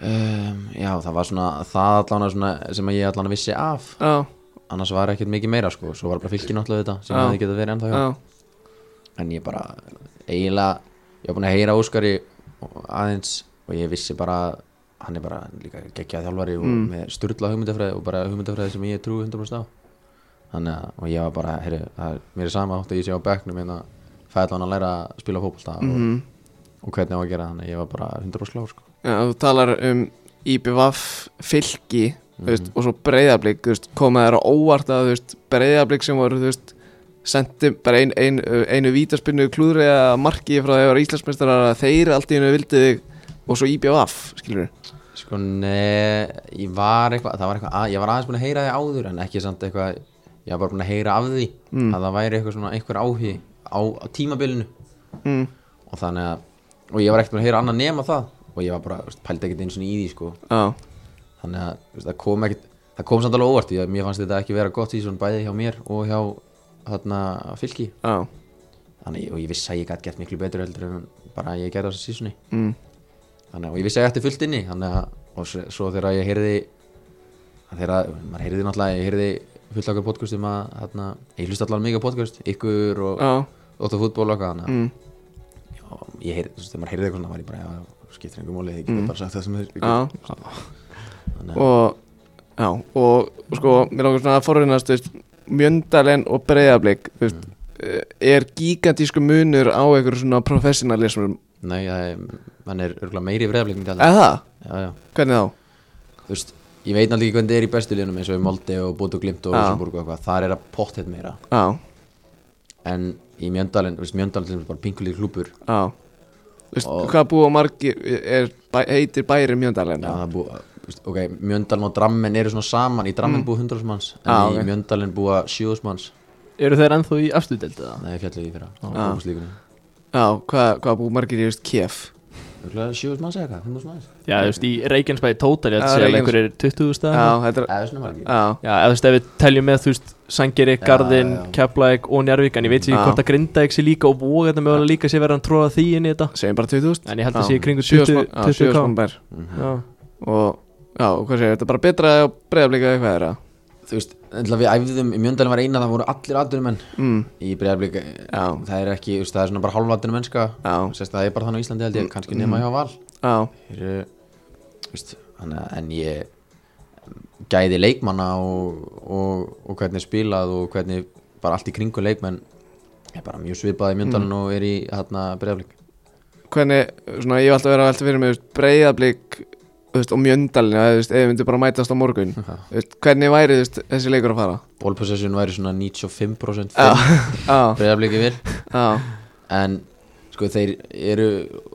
um, Já, það var svona það allan svona, sem að ég allan vissi af já, annars var ekkert mikið meira sko svo var bara fylkin alltaf þetta sem Já. hefði getað verið ennþá já, hjá en ég bara eiginlega ég var búin að heyra Óskari og- aðeins og ég vissi bara að hann er bara líka geggjað þjálfari og Mm. með styrla hugmyndafræði og bara hugmyndafræði sem ég trúi 100% á þannig að og ég var bara, heyrðu, það er- mér er sama átt að ég sé á bekknum en að fæða hann að læra að spila fótbolta mhm. og, og hvernig á að gera það, þannig að ég var bara 100% klár sko. já, þú talar um IBVF fylki mm veist, og svo breyðablík, þú veist, koma þér á óvart að, þú veist, breyðablík sem voru, þú veist sendi bara ein, ein, einu vítaspinnu klúðri að marki frá þegar Íslandsmeistarar að þeir allt í hennu vildi þig og svo IBVF, skilur við Sko, nei, ég var eitthvað, það var eitthvað, að, ég var aðeins búin að heyra því áður en ekki samt eitthvað, ég var bara búin að heyra af því að það væri eitthvað svona einhver áhugi á, á tímabilinu mm. og þannig að, og ég var ekkert búin að heyra annað nema það og ég var bara, þú veist, pældi ekkert einu svona í því, sko, Já, þannig að, þú veist, það kom ekkert, það kom samt alveg óvart, ég, mér fannst þetta ekki vera gott í svona bæði hjá mér og hjá, þarna, fylki, já, þannig, og ég vissi að ég gæti gert miklu betur heldur en bara ég gerði á þessu sísunni mm. þannig að og ég vissi að ég ætti fullt inni þannig að og svo, svo þegar ég heyrði að þegar að, maður heyrði náttúrulega ég heyrði fullt okkar podcastum að þarna, ég hlusti allavega mikið á podcast ykkur og já, óttu fútból og eitthvað þannig mm. að- og ég heyrði, þú veist, þegar maður heyrði eitthvað svona var ég bara, já, já, skiptir einhver múli, ég geta bara sagt það sem þeir já Hérna. þannig að, og já, og sko, mér langar svona að forriðnast, þú veist, Mjöndalen og Breiðablík, þú veist, Mm. eh, er gigantísku munur á einhverju svona professionalismum, Mm. nei, það er, hann er örgulega meiri vreðaflik myndi alltaf, eða það? já, já, Hvernig þá? þú veist ég veit náttúrulega ekki hvernig það er í bestu liðunum eins og í Molde og Bótu Glimt og Já. Rosenborg og eitthvað, þar er að pott meira Já, en í Mjöndalinn, þú veist, Mjöndalinn er bara pinkulík klúpur já Þú veist, Og- hvað búa margir, er, bæ, heitir bæri Mjöndalen? Já, það er búið, veist, ok, Mjöndalen og Drammen eru svona saman, í Drammen mm. búið 100 manns en Já, í ok. Mjöndalen búið 7 manns Eru þeir ennþá í afstudeld eða? Nei, fjallið í fyrra, á búið Já, hvað, hvað búa margir í, þú veist, KF? 7 manns eða eitthvað, 5 manns Já, þú veist, í Reykjanesbæði tótal ég Já, ætti að segja Reykjanes- einhverjir 20 Já, staðar þetta er, Eða svona var ekki já, Já, eða þú veist, ef við teljum með, þú veist, Sangeri, Garðin, já. Keflæk og Njarvík En ég veit sér Já. hvort að Grindavík sé líka og Vóga þetta mögulega líka sé verið að tróða því inn í þetta segjum bara 20.000 En ég held að Já. sé í kringu Sjö 20 smann- já, sjö 20k smann bær. Já. Og, já, og hvað segir, þetta er bara betra að breyðablíka eitthvað þeirra? Þú veist, Ætla, við æfðum, í mjöndalum var eina það voru allir aðdurum menn mm, í breyðarblik Já. það er ekki, þú veist, það er svona bara hálfvatnum mennska Já. Mm, Sest, það er bara þannig á Íslandi held ég, kannski nema hjá val á, Þeir eru, þú veist, þannig að en ég gæði leikmanna og, og, og hvernig er spilað og hvernig bara allt í kringu leikmenn er bara mjög svipað í mjöndalun Mm. og er í hérna breyðarblik hvernig, svona ég hef alltaf verið að velta fyrir mig breyðablík og mjöndalina, þú veist, ef við myndum bara mætast á morgun Já. þú veist, hvernig væri þú veist, þessi leikur að fara Ball possession væri svona 95% á, breyðarbliki vil á, en sko þeir eru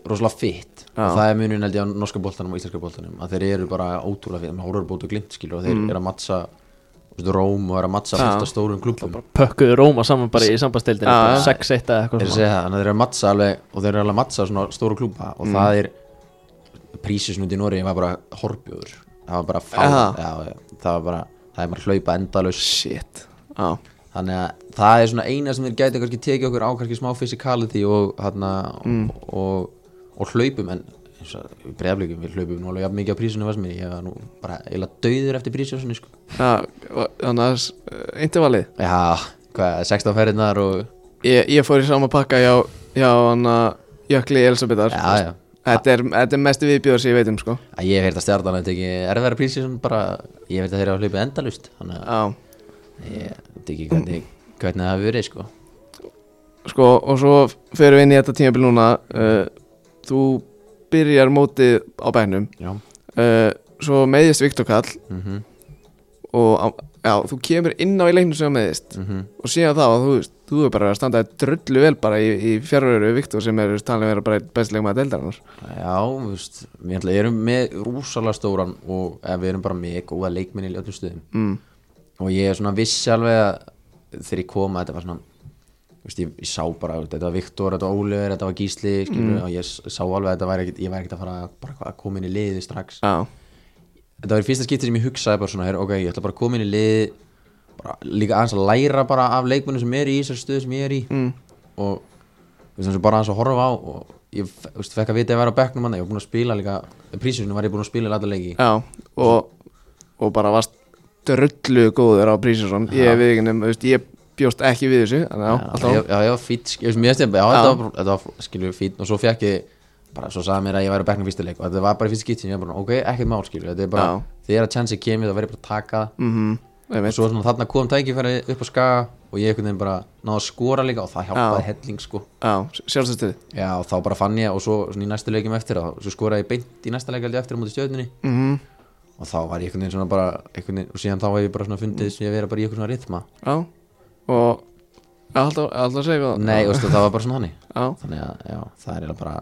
rosalega fit Já. og það er munun held ég á norska boltanum og íslenska boltanum að þeir eru bara ótrúlega fit, maður horfður bótu glimt skilur og þeir eru að mattsa þú veist, róm og eru að mattsa Mm. Já. fullt af stórum klubum Pökkuðu Róma saman bara í sambandsdeildinu Já, já. 6-1 eða eitthvað þeir svona segja það, þannig að þeir eru að mattsa alveg og þeir eru alveg að mattsa svona stóru kluba og Mm. það er prísisun út í Noregi var bara horfjóður það var bara fá Aha. já, já, það var bara, það er bara að hlaupa endalaus shit á, þannig að það er svona eina sem þeir gæti kannski tekið okkur á kannski smá physicality og, hana, og, og, og hlaupum en eins og breyðafleikum við hlaupum nú alveg jafn mikið á prísinu varst mér ég var nú bara eila dauður eftir prísinu sko. á þannig að eh, intervallið já, hvað, 16 ferðinar og ég, ég fór í sama pakka hjá, hjá hann að Jökli Elisabethar já, já, Þetta er, þetta er mestu viðbjóður sem ég veit um sko að ég hef heyrt að stjartan að teki erfæra prísinu bara, ég hef heyrt að þeir eru að hlaupa endalust þannig Já, að ég teki hvernig, hvernig það hafi verið sko. sko og svo fyrir við inn í þetta tímabil núna uh, Þú byrjar mótið á bænum já, uh, Svo meðist Viktor Kall mhm mm Og á, já, þú kemur inn á í leiknum sem meðist Mhm. Og síðan þá, þú veist, þú er bara að standa drullu vel bara í, í fjárveru Viktor sem er talin að vera bara bestilegum að deildarinnar Já, þú veist, við ætla- erum með rúsalega stóran og eða, við erum bara með góða leikminni í öllum stöðum mm, og ég er svona viss alveg að þegar ég kom að þetta var svona þú veist, ég, ég sá bara, þú veist, þetta var Viktor, þetta var Ólefur, þetta var Gísli skilur, og ég s- sá alveg að þetta væri ekkit, ég væri ekkit að fara að, bara, hvað, að koma inn í liði strax Já, þetta var í fyrsta skipti sem ég hugsaði bara svona, her, ok, ég ætla bara að koma inn í liði bara, líka aðeins að læra bara af leikmennum sem er í þessar stöðu sem ég er í mm, og þú veist, eins og bara aðeins að horfa á og ég fe- þú veist, fekk að vita að ég væri á bekknum hann ég var búinn að spila líka, prísinu var ég búinn að spila í alltaf leiki já og, og bara varst drullu góður á Prísinsson Ég við ekki nefnum, ég bjóst ekki við þessu Þannig já, alltaf já, já, já, fýtt, sk- ég veist, mér stefn já, þetta var, bara- þetta var skilju, fýtt og svo fekk ég bara, svo sagði mér að ég væri á bekknum fyrsta leik og þetta var bara í fyrsta skipti sem ég var bara, ok, ekkert mál skilju þetta er bara, Já. þegar að chansi kemur þá verð ég bara að taka það. mm og -hmm, svo svona þarna kom tækifæri upp á skaga og ég einhvern veginn bara náði að skora líka og það hjálpaði helling sko Já, sjálfstöðstuði já, og þá bara fann ég og svo svona í næstu leikum eftir og svo skoraði ég beint í næsta leik held ég eftir á móti stjörnunni mm og þá var ég einhvern veginn svona bara einhvern veginn, og síðan þá hef ég bara svona fundið sem ég vera bara í einhvern svona rithma Já, og alltaf, alltaf segja við það nei, veistu, það var bara svona hannig Já, þannig að já, það er eiginlega bara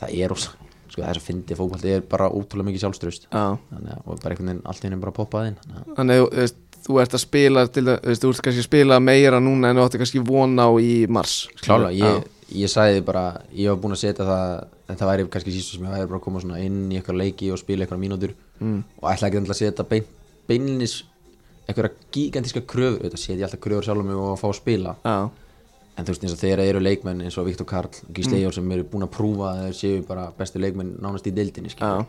það er ósa, sko það er svo fyndið fókvalt er bara ótrúlega mikið sjálfströst já þannig að og bara einhvern veginn allt í henni bara poppaði inn þannig að Þannig, þú veist, þú ert að spila til, að- þú veist, þú ert kannski að spila meira núna en þú átti kannski von á í mars klála, ég, ég sagði því bara ég var búinn að setja það þetta væri kannski sístu sem ég væri bara að koma svona inn í eitthvað leiki og spila eitthvað mínútur mm. og ætla ekki endilega að setja bein, beinlinis eitthvað gigantíska kröfur þetta setja ég alltaf kröfur sjálfum mig og að fá að spila Já, En þú veist eins og þeir eru leikmenn eins og Viktor Karl og Gísli Eyjól sem eru búin að prúfa að þeir séu bara bestu leikmenn nánast í deildinni já, skilur.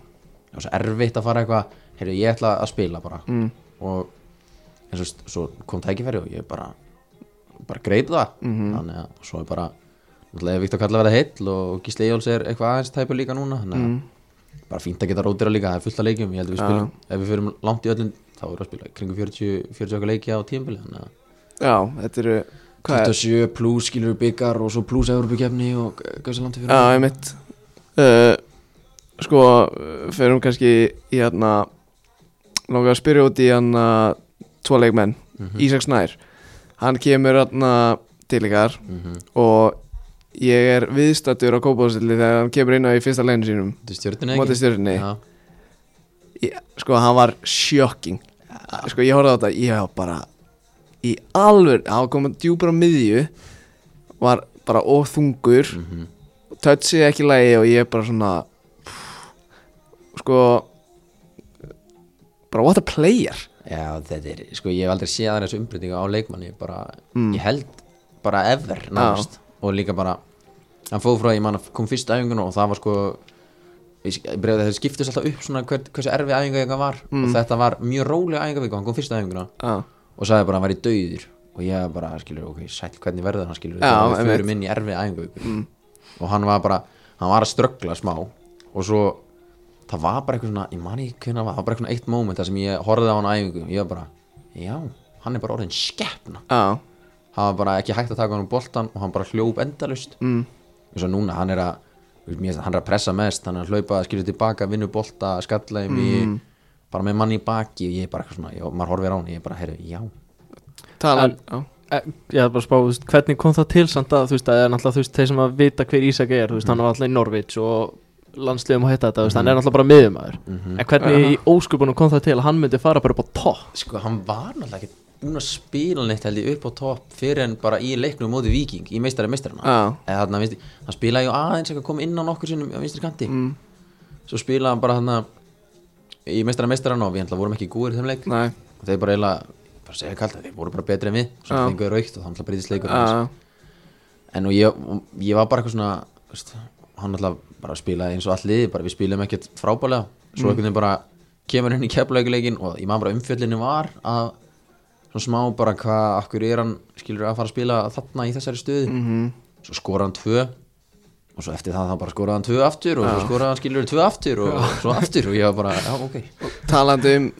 Það er svo erfitt að fara eitthvað, heyrðu ég ætla að spila bara mm. og eins og veist, svo kom tækifæri og ég bara bara greip það Mhm. Mm. þannig að svo er bara náttúrulega er Viktor Karl að vera heill og Gísli Eyjóls er eitthvað aðeins tæpur líka núna þannig að Mhm. Mm. bara fínt að geta rótir líka, það er fullt af leikjum ég held að við spilum, ef við fyrum langt í öllum þá erum við að spila kringum 40, 40 okkar leiki á tímbili þannig að já, þetta eru Hvað er, 27 pluss skilur við byggar og svo pluss Evropakefni og gauðs að landi fyrir já, ég mitt uh, Sko, uh, förum kannski í hérna Lóka að spyrja út í hérna Tvo leikmenn, Mhm. Ísak Snær Hann kemur hérna til ykkar mm -hmm. og ég er viðstattur á kópáðstilli þegar hann kemur inn á í fyrsta leginu sínum Þetta er stjórnina ekki? mótið stjörnni Já, Ég- sko hann var sjokking sko ég horfði á þetta, ég var bara í alveg, hann kom að djúpar á miðju var bara óþungur mm -hmm. tötsið ekki í lagi og ég bara svona pff, sko bara what a player já þetta er, sko ég hef aldrei séð aðeins umbreytinga á leikmanni bara, ég held bara ever náðast og líka bara, hann fóð frá því mann kom fyrst æfingun og það var sko breyfði þeir skiptist alltaf upp svona hver, hversu erfið æfinga var og þetta var mjög rólega æfinga hann kom fyrst æfinguna já, og sagði bara að hann væri dauður og ég bara, skilur, ok, sæll, hvernig verður hann Já, skilur þegar við einmitt. förum inn í erfið æfingu mm. og hann var bara, hann var að ströggla smá og svo það var bara eitthvað svona, ég man ekki hvernig það var það var bara eitthvað eitt moment þar sem ég horfði á hann á æfingu og ég var bara, já, hann er bara orðin skeppna Já, hann var bara ekki hægt að taka hann um boltan og hann bara hljóp endalust mm. og svo núna hann er að þú veist, mér finnst að hann er að pressa mest, hann er að hlaupa skilja tilbaka, vinnu bolta, skalla í mig bara með manni í baki og ég er bara eitthvað svona, já, maður horfir á hann, ég er bara, heyrðu, já talan já. Eh, Ég hef bara spáð, þú veist, hvernig kom það til samt að, þú veist, það er náttúrulega, þú veist, þeir sem að vita hver Ísak er, þú veist, hann var alltaf í Norvits og landsliðum og heita þetta, þú veist, hann er náttúrulega bara miðumæður En hvernig í óskupunum kom það til að hann myndi fara bara upp á topp? sko hann var náttúrulega ekki búin að spila neitt held ég upp á topp fyrir en bara í leiknum móti viking í meistari meistarana Já. eða þarna vinstri hann spilaði ju aðeins eitthvað kom inn á nokkur sinnum á vinstri kanti mm. svo spilaði hann bara þarna í meistari meistarana og við hendla vorum ekki góður í þeim leik Nei. og þeir bara eiginlega bara segja kallt að þeir voru bara betri en við svo Já. fenguðu raukt og þannig að breytist leikur Já, en og ég, og ég var bara eitthvað svona veist, hann náttúrulega bara spilaði eins og allt liði bara við spilum ekkert frábælega Mm. svo einhvern veginn bara kemur hann í keflauguleikin og ég maður bara umfjöllinu var að svona smá bara hvað akkur er hann skilur að fara að spila þarna í þessari stöðu Mhm. -hmm. svo skora hann tvö og svo eftir það þá bara skoraði hann tvö aftur og svo skoraði hann skilur tvö aftur og svo aftur og ég var bara, já ok talandi um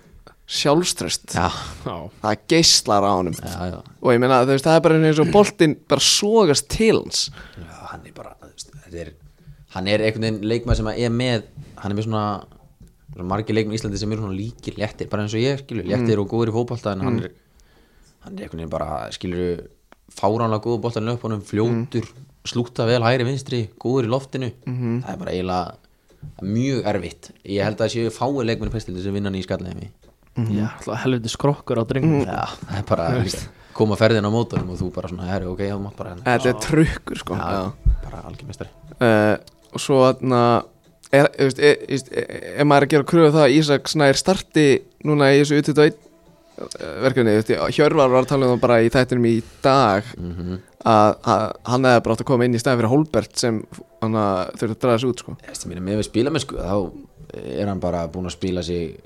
sjálfströst já, Já, það geislar á honum já, já, og ég meina þú veist það er bara eins og boltinn bara sogast til hans Já, hann er bara þú veist, þetta er, hann er einhvern veginn leikmað sem að er með hann er með svona, svona margir leikmenn í Íslandi sem eru svona líkir léttir bara eins og ég skilur, léttir og góður í fótbolta en hann, er, hann er einhvern veginn bara skilur fáránlega góður boltan upp honum, fljótur, slúta vel hægri vinstri, góður í loftinu það er bara eiginlega mjög erfitt ég held að það séu fáið leikmenn í pestildi sem vinna hann í skallaðið já, alltaf helviti skrokkur á drengnum Já, það er bara þú veist, koma ferðin á mótunum og þú bara svona, herri, ok, það mátt bara hérna þetta er trukkur sko Eh, já. bara algjörmestari Uh, og svo þarna er, þú veist, er, er, er, er maður að gera kröfu um það að Ísak Snær starti núna í þessu U21 eh, verkefni, þú veist, ég- Hjörvar var að tala um það bara í þættinum í dag Mhm. að, að hann hefði bara átt að koma inn í staðin fyrir Holbert sem hann að þurfti að draga sig út sko Þessi mínu, með við spila með sko, þá er hann bara búinn að spila sig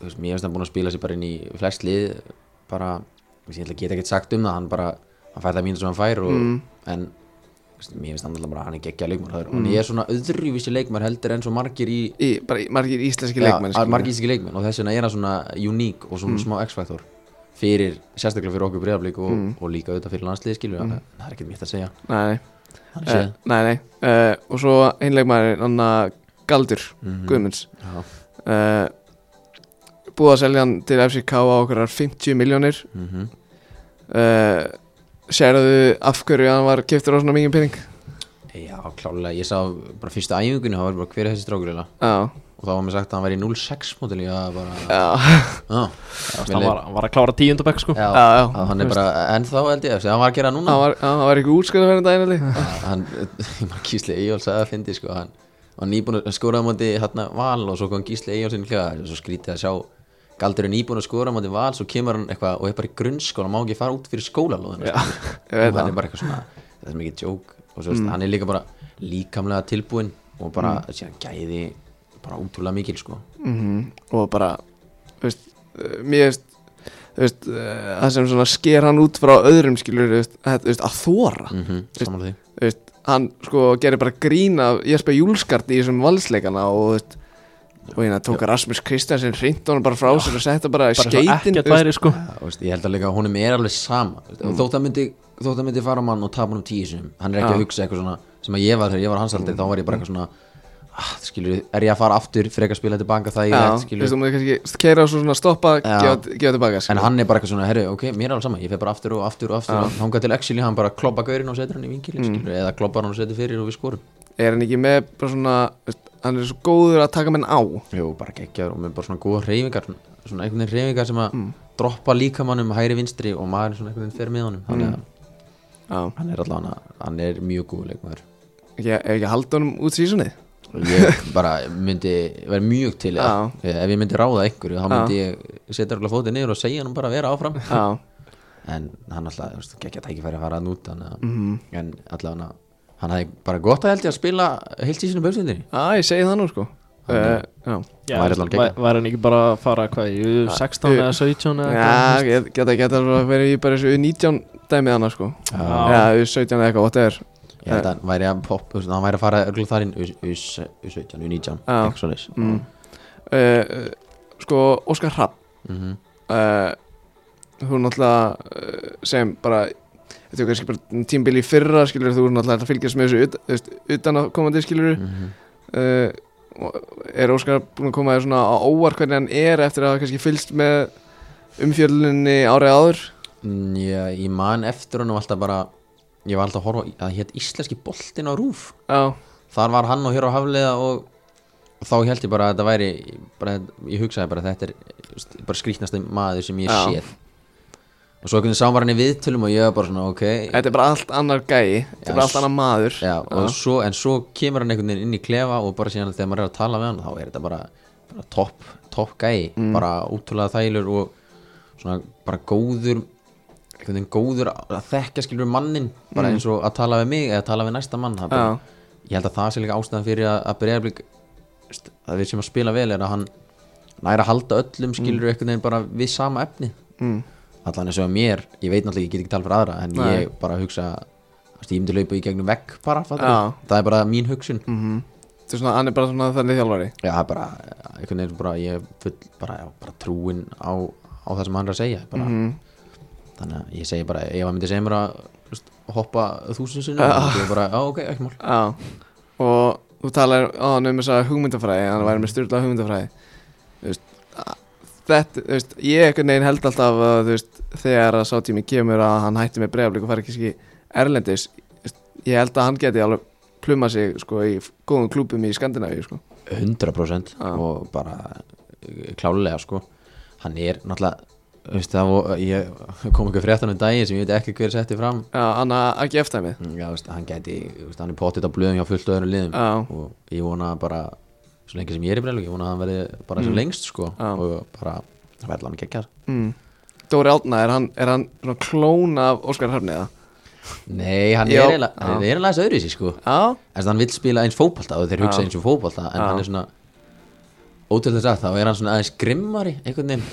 þú veist, mér finnst hann búinn að spila sig bara inn í flest lið, bara þú veist, ég ætla að geta ekkert sagt um það, hann bara hann fær það mínu sem hann fær og, Mm. en þú veist, mér finnst hann alltaf bara, hann er geggja leikmar mm. hann er svona öðruvísi leikmar heldur en svo margir í í, bara í, margir íslenski leikmenn Já, skilur. margir íslenski leikmenn og þess vegna er hann svona uník og svona smá x-faktor fyrir, sérstaklega fyrir okkur breyðablík og, og líka auðvitað fyrir landsliði skilur mm. það er ekkert mitt að segja nei, nei. Hann er Uh, séð. nei, nei. Uh, og svo einn leikmaðurinn hann að Galdur Mm. Guðmunds Mhm. Já. uh, búið að selja hann til FCK á okkur 50 miljónir Mhm. uh, sérðu af hverju hann var keftur á svona mingin pening Já, klálega, ég sá bara fyrsta æfingunni, það var bara hver er þessi strákur eiginlega? já, og þá var mér sagt að hann væri 06 mótil ég var bara já, já, Hann var, hann var að klára tíundabæk, sko já, já, já. að hann er bara ennþá held ég, þessi, hann var að gera það núna hann var, já, hann var ekki útskjöðan verðin daginn Já, hann, ég maður Gísli Eyjóls að það fyndi sko, hann var nýbúin að skora á móti hérna val og svo kom Gísli Eyjóls inn í klefa svo skrítið að sjá Galdur er nýbúin að skora á móti val, svo kemur hann eitthvað og er bara í grunnskóla, má ekki fara út fyrir skólalóðina sko. ég veit og hann er bara eitthvað svona þetta er mikið jók og svo mm. hann er líka bara líkamlega tilbúinn og bara mm. síðan gæði bara útrúlega mikil sko Mhm. og bara þú veist, eh, mér veist, þú veist eh, það sem svona sker hann út frá öðrum skilur þú veist, að, þú veist, að þóra mm -hmm, samanlega því þú veist, hann sko gerir bara grín af Jesper Júlskart í þessum valsleikana og þú veist og hérna tók Rasmus Kristjansson hreint honum bara frá sér og setta bara, bara Bara svo skeitin ekkert væri, sko Já, þú veist, ég held að líka að honum er alveg sama þú veist, og þótt að myndi, þótt að myndi fara mann og tapa hann um tíu sinum, hann er ekki að hugsa eitthvað svona sem að ég var þegar ég var á hans aldrei, þá var ég bara eitthvað svona ah, skilur, er ég að fara aftur frekar að spila tilbaka það Já, ég veit, þú veist, skilur þú múið kannski keira og svo svona stoppa, gefa gefa tilbaka en skilur. hann er bara eitthvað svona, herru, ok, mér er alveg sama ég fer bara aftur og aftur og aftur, ja. hann til actually hann bara kloppa gaurinn og setur hann í vingilin, skilur eða kloppa hann og setur fyrir og við skorum er hann ekki með bara svona, þú veist, hann er svo góður að taka menn á Jú, bara geggjaður og með bara svona góða reyfingar svona, svona einhvern veginn reyfingar sem að droppa líkamannum hægri vinstri og maður svona einhvern veginn fer með honum þannig að Já, hann er allavega, hann er mjög góð leikmaður ekki, ef ekki að halda honum út sísunni ég bara myndi vera mjög til í það ef ég myndi ráða einhverju þá myndi ég setja alveg fótið niður og segja hann bara að vera áfram Já, en hann alltaf gekkja tækifæri að fara að nút hann, Mhm. mm. en alltaf hann hann hafði bara gott að held ég að spila heilt í sínum bauðsindinni já, ég segi það nú sko uh, Já, Já, Væri veist, allan geggjað. væ- væri hann ekki bara að fara hvað, í 16 Ja, eða 17 eða já ég geta geta svo að vera í bara þessu 19 dæmið annars sko Já. Já, 17 eða eitthvað, whatever Ég held að hann væri að pop, þú veist, hann væri að fara örgulega þar inn U17, U19, Já. eitthvað svo leys mm. uh, Sko, Óskar Hrapp Mhm. uh, Hún náttúrulega uh, sem bara Þetta er kannski bara tímbili í fyrra skilur Þú er náttúrulega að fylgjast með þessu ut, þú veist, utan að komandi skilur Mhm. uh, og Er Óskar búin að koma þér svona á óvar hvernig hann er eftir að hafa kannski fylgst með umfjörlunni árið áður Já, ég man eftir hann og alltaf bara Ég var alltaf að horfa, á- það hétt Íslenski boltinn á rúf Já, Þar var hann og hér á hafliða og þá held ég bara að þetta væri bara, Ég hugsaði bara að þetta er þú veist, bara skrýtnasti maður sem ég Já. séð Og svo einhvern veginn sá var hann í viðtölum og ég var bara svona, ok þetta er bara allt annar gæi Þetta er Já, bara allt s- annar maður Já, og svo, en svo kemur hann einhvern veginn inn í klefa og bara síðan þegar maður er að tala við hann þá er þetta bara, bara topp, topp gæi bara útrúlega þælur og svona bara góður einhvern veginn góður að að þekkja skilur mannin bara eins og að tala við mig eða tala við næsta mann það Já. er bara, ég held að það sé líka ástæðan fyrir að, að breyðablík að við sem að spila vel er að hann næra að halda öllum skilur einhvern veginn bara við sama efni Mm. allan eins og að mér, ég veit náttúrulega ég get ekki tala fyrir aðra en Nei. ég bara hugsa þú veist, ég myndi laupa í gegnum vekk bara Já. fattar, það er bara mín hugsun Mhm. Þetta er svona, hann er bara svona þannig þjálfari já, það er bara, einhvern veginn bara ég er full, bara, já, bara trúin á, á það sem hann er að segja bara, mm. þannig að ég segi bara, ef hann myndi segja mér að þú veist, hoppa þúsund sinni og ég bara, já, ok, ekki mál Já, og þú talar á hann um þess að hugmyndafræði, hann væri með styrla hugmyndafræði Þú veist, að- þetta, þú veist, ég einhvern veginn held alltaf að, þú veist, þegar að sá tími kemur að hann hætti með breyflik og fari kannski erlendis, þú veist, ég held að hann geti alveg pluma sig, sko, í f- góðum klúpum í Skandinavíu, sko 100% Já. og bara eh, klálega sko hann er náttúrulega þú veist, það, var- ég kom ekki fréttan um daginn sem ég veit ekki hver setti fram Já, hann að ekki eftir mig Já, veist, hann gæti, veist, hann er pottið á blöðum hjá fullt öðrum liðum Já. og ég vona að bara, svo lengi sem ég er í breylu ég vona að hann verði bara sem lengst sko Mm. Já. og bara, það verði hann geggjað mm. Dóri Átna, er hann, er hann svona klón af Óskar Hrafniða? Nei, hann Já. er eiginlega, hann er eiginlega öðru í sig sko Já, en hann vill spila eins fótbolta og þeir hugsa eins og fótbolta en Já. hann er svona ótrúlega satt, þá er hann svona aðeins grimmari einhvern veginn,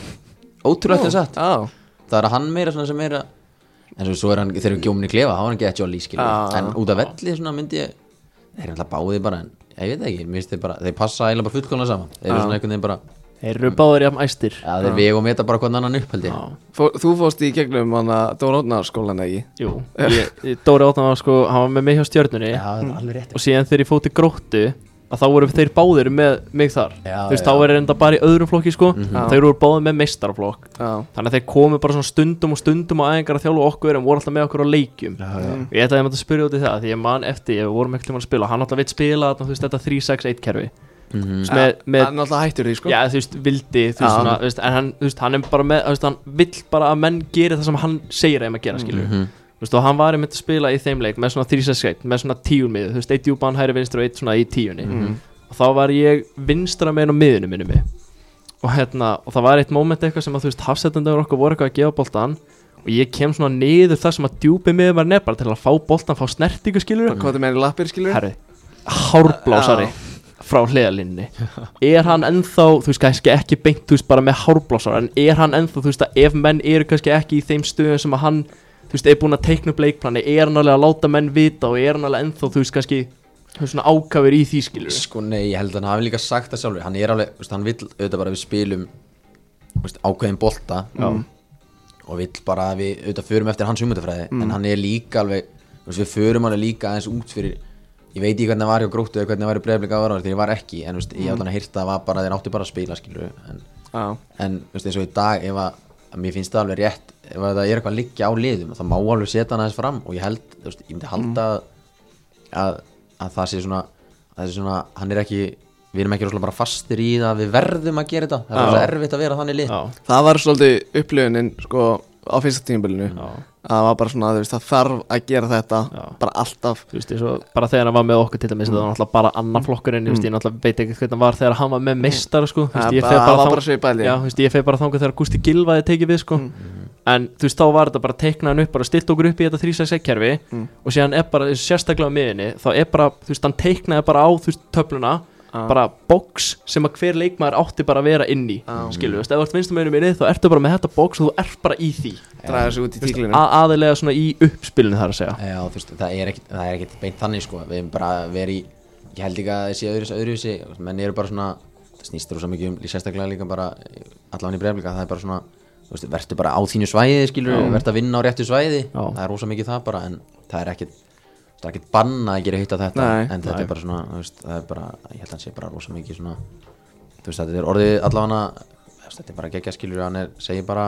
ótrúlega satt já, það er hann meira svona sem meira en svo, svo er hann, þegar við gjóminni klefa þá var hann gett jolly skil Já. en út af velli svona myndi ég þeir er alltaf báðið bara en ég veit það ekki, mér finnst þeir bara, þeir passa eiginlega bara fullkomlega saman þeir eru svona einhvern veginn bara, Þeir eru báður jafn æstir já þeir vegu og meta bara hvern annan upp held ég Fó, þú fórst í gegnum hann að Dóra Átna skólan, ekki? Jú, ég, ég- Dóri Áttan var sko, hann var með mig hjá stjörnunni já, það er alveg rétt og síðan þegar ég fóti gróttu að þá voru þeir báðir með mig þar Já, þú veist, já. þá er reynda bara í öðrum flokki sko þeir voru báðir með meistarflokk Já, þannig að þeir komu bara svona stundum og stundum á æfingar að þjálfa okkur en voru alltaf með okkur á leikjum já, já. ég ætlaði að spyrja út í það því ég man eftir, ég vorum ekkert um að spila hann alltaf veit spila þarna, þú veist, þetta 3-6-1 kerfi Mm Þú veist, með, með, hann alltaf hættur því, sko já, þú veist, vildi þú veist, Já. svona, þú veist, en hann, þú veist, hann er bara með þú veist, hann vill bara að menn geri það sem hann segir þeim að gera, skilur Mhm. þú veist, og hann var einmitt að spila í þeim leik með svona 3-6-1, með svona tíunmið þú veist, eitt júban hæri vinstri og eitt svona í tíunni Mm. Mhm. og þá var ég vinstra megin á miðunum minni mig og hérna, og það var eitt moment eitthvað sem að þú veist hafsettandagur okkur voru eitthvað að gefa boltan og ég kem svona niður þar sem að djúpi miður var nefn bara til að fá boltan, fá snertingu skilur Hvað það meðin lappir, skilur? herru, hárblásari frá hliðalinni er hann ennþá, þú veist kannski ekki beint þú veist bara með hárblásari, en er hann ennþá þú veist að ef menn eru kannski ekki í þeim stöðum sem að hann, þú veist, er búin að teikna upp leikplani, er hann alveg að láta menn vita og er hann alveg ennþá, þú veist kannski þú veist, svona ákafur í því skilur Sko nei, ég held að hann hafi líka sagt það sjálfur Hann er alveg, veist, hann vill auðvitað bara að við spilum veist, ákveðin bolta Já. og vill bara að við auðvitað förum eftir hans hugmyndafræði en hann er líka alveg, veist, við förum alveg líka aðeins út fyrir ég veit ekki hvernig það var hjá gróttu eða hvernig það var í breyflika ára þegar ég var ekki, en veist, ég allan að heyrta það var bara þeir áttu bara að spila skilur en, Já, en veist, eins og í dag ef að, að mér finnst það alveg rétt ef að það er eitthvað að liggja á liðum þá má alveg setja hann aðeins fram og ég held, þú veist, ég myndi halda að, að það sé svona að það sé svona, hann er ekki við erum ekki rosalega bara fastir í það að við verðum að gera þetta það er rosalega erfitt að vera þannig lið Já, það var svolítið upplifunin, sko, á fyrsta tímabilinu að Það var bara svona, þú veist, það þarf að gera þetta Já. Bara alltaf þú veist, eins og bara þegar hann var með okkur til dæmis, þetta var náttúrulega bara annar flokkurinn, mm. ég náttúrulega veit ekki hvernig hann var þegar hann var með meistar, sko, þú Það veist, ég bara- feg það var bara, þang- bara svipað lið. já, þú veist, ég feg bara þangað þegar Gusti Gilvaði tekið við, sko, en þú veist, þá var þetta bara teiknaðan upp, bara stilt okkur upp í þetta 366 kerfi og síðan er bara, þú veist, sérstaklega á miðinni, þá er bara, þú veist, hann teiknaði bara á, þú veist, töfluna bara box sem að hver leikmaður átti bara að vera inn í Já. skilur, veist, ef þú ert vinstum einu minni þá ertu bara með þetta box og þú ert bara í því draga sig út í Veist, tíklinu að, aðilega svona í uppspilinu þar að segja Já, þú veist, það er ekkit, það er ekkit beint þannig sko Við erum bara verið í, ég held ekki að það sé öðru, öðru þessi Menn eru bara svona, það snýst rosa mikið um, líka sérstaklega líka bara Allan í breyflika, það er bara svona, þú veist, verður bara á þínu svæði skilur Verður að vinna á réttu svæði, Já. það er rosa mikið það bara En það er ekkit, það er ekkit banna að gera hitt á þetta Nei. En þetta er bara svona, þú veist, það er bara, ég held að hann sé bara rosa mikið svona Þú veist, þetta er orðið allavega Þetta er bara geggja skilur, hann er, segir bara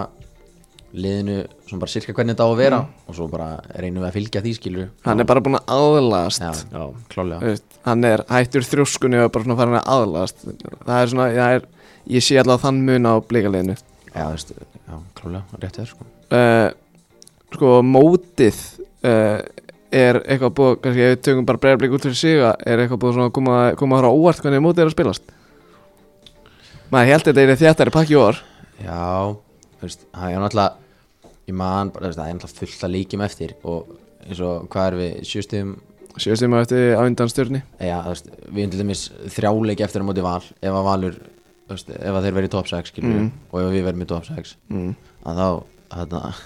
liðinu svona bara sirka hvernig þetta á að vera og svo bara reynum við að fylgja því skilur hann er bara búin að aðlast já, já, Þú klálega veist, hann er hættur þrjóskunni og er bara svona farin að aðlast það er svona, það er, ég sé allavega þann mun á blíkaliðinu já, þú veist, já, klálega, rétt þér sko uh, sko mótið uh, er eitthvað búið, kannski ef við tökum bara breyðarblik út fyrir sig, er eitthvað búið svona að koma, koma þar á óvart hvernig mótið er að spilast maður held að þetta er þjættari pakki í orð já, þú veist, það er náttúrulega ég man, bara, þú veist, það er náttúrulega fullt að líkjum eftir og eins og hvað er við um sjöstum, sjöstum að eftir á undan stjórni já, þú veist við erum til dæmis þrjáleik eftir að móti val ef að valur, þú veist, ef að þeir verið í top 6 skilur Mm. og ef við verðum í top 6 mm. að þá, þarna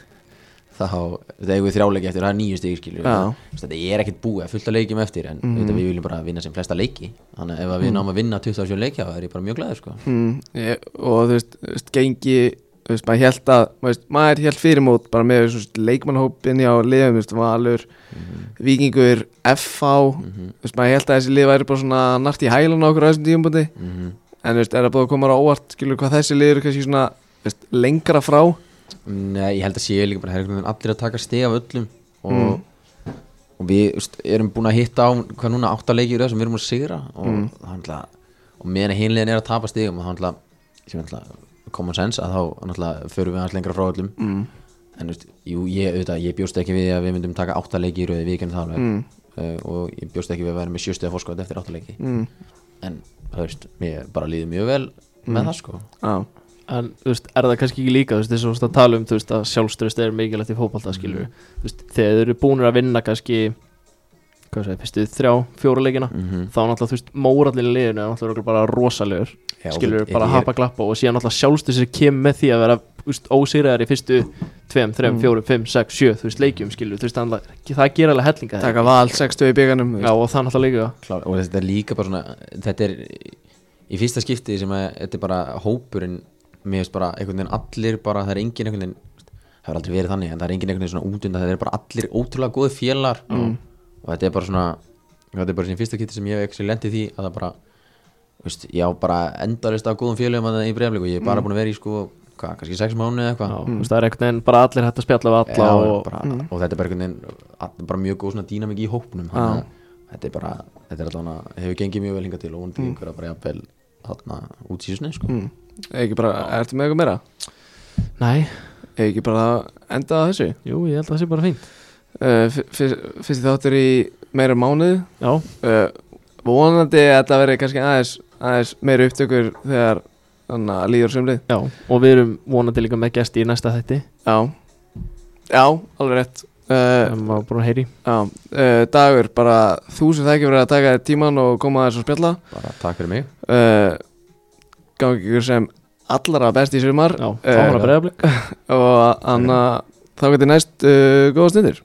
þá, það eigum við þrjáleik eftir, það er nýju stík skilur Já. Þú veist, þetta er ekkert búið fullt af leikjum eftir en Mhm. mm. við viljum bara vinna sem flesta leiki þannig að ef að við náum að vinna 27 leikja þá er ég bara mjög glæður sko Mm. Ég, og þú veist, þú veist gengi þú veist, maður held að, þú veist, maður held fyrir mót bara með þú veist, leikmannhópin á liðum, þú veist, Valur Víkingur, FH Mhm. þú veist, maður held að þessi lið væri bara svona nart í hælan á okkur á þessum tíumbúti Mhm. En þú veist, er það búið að koma á óvart, skilur hvað þessi liður er kannski svona þú veist, lengra frá Nei, ég held að séu líka bara herrgum allir að taka stið af öllum og, Mm. og við þú veist, erum búin að hitta á hvað núna átta leikir eru það sem við erum að sigra og mm. handla, og meðan að hinlegin er að tapa stigum og handla, sem er handla common sense að þá náttúrulega förum við hans lengra frá öllum mm. en þú veist, jú, ég, auðvitað, ég bjóst ekki við að við myndum taka átta leiki í rauði við kennum það alveg Mm. uh, og ég bjóst ekki við að vera með sjöstuða fórskot eftir átta leiki mm. en þú veist, mér bara líður mjög vel Mm. með það sko á, en þú veist, er það kannski ekki líka þú veist, þess að þú veist að tala um þú veist, að sjálfströst er mikilvægt í fótbolta skilur Mm. þú veist, þegar þau eru búinir að vinna kannski hvað segir, fyrstu þrjá, fjóra leikina mm Mhm. -hmm. þá náttúrulega þú veist, mórallin í liðinu er náttúrulega bara rosalegur skilur bara hapa glappa og síðan náttúrulega sjálfstu sér kem með því að vera úst, ósýræðar í fyrstu 2, Mm. 3, 4, 5, 6, 7 þú veist leikjum skilur, þú veist þannig að það gera alveg hellinga þeirra. taka val 60 í bygganum já og það náttúrulega líka Klár, og þetta er líka bara svona þetta er í fyrsta skipti sem að þetta er bara hópurinn mér finnst bara einhvern veginn allir bara það er enginn einhvern veginn það hefur aldrei verið þannig en það er enginn einhvern veginn svona útund það er bara allir ótrúlega góði félar og þetta er bara svona þetta er bara svona í fyrsta skipti sem ég hef ekki lendið því að það bara veist, ég á bara endarist af góðum félagum að það í breyflik og ég er bara búin að vera í sko hvað, kannski sex mánu eða eitthvað já, þú veist það er einhvern veginn bara allir hægt að spjalla við alla Mm. Já, og bara, og þetta er bara einhvern veginn all- bara mjög góð svona dýnamik í hópnum þannig að þetta er bara, þetta er allavega hefur gengið mjög vel hingað til og vonandi ykkur að bara jafnvel þarna út síðusni sko. mm. ekki bara, ertu með eitthvað meira? nei, ekki bara enda á þessu jú ég held að það sé bara fínt uh, fyr- fyr- fyrsti þáttur í meira mánuð já, uh, vonandi að þetta verði kannski aðeins, aðeins meira upptökur þegar þannig að líður sumlið já, og við erum vonandi líka með gesti í næsta þætti já, já, alveg rétt uh, sem maður búin að heyri Já, uh, dagur, bara þú sem þekki fyrir að taka þér tíman og koma þess að spjalla bara takk fyrir mig uh, gangi ykkur sem allra best í sumar já, þá var að breyða og anna, þá getið næst uh, góða stundir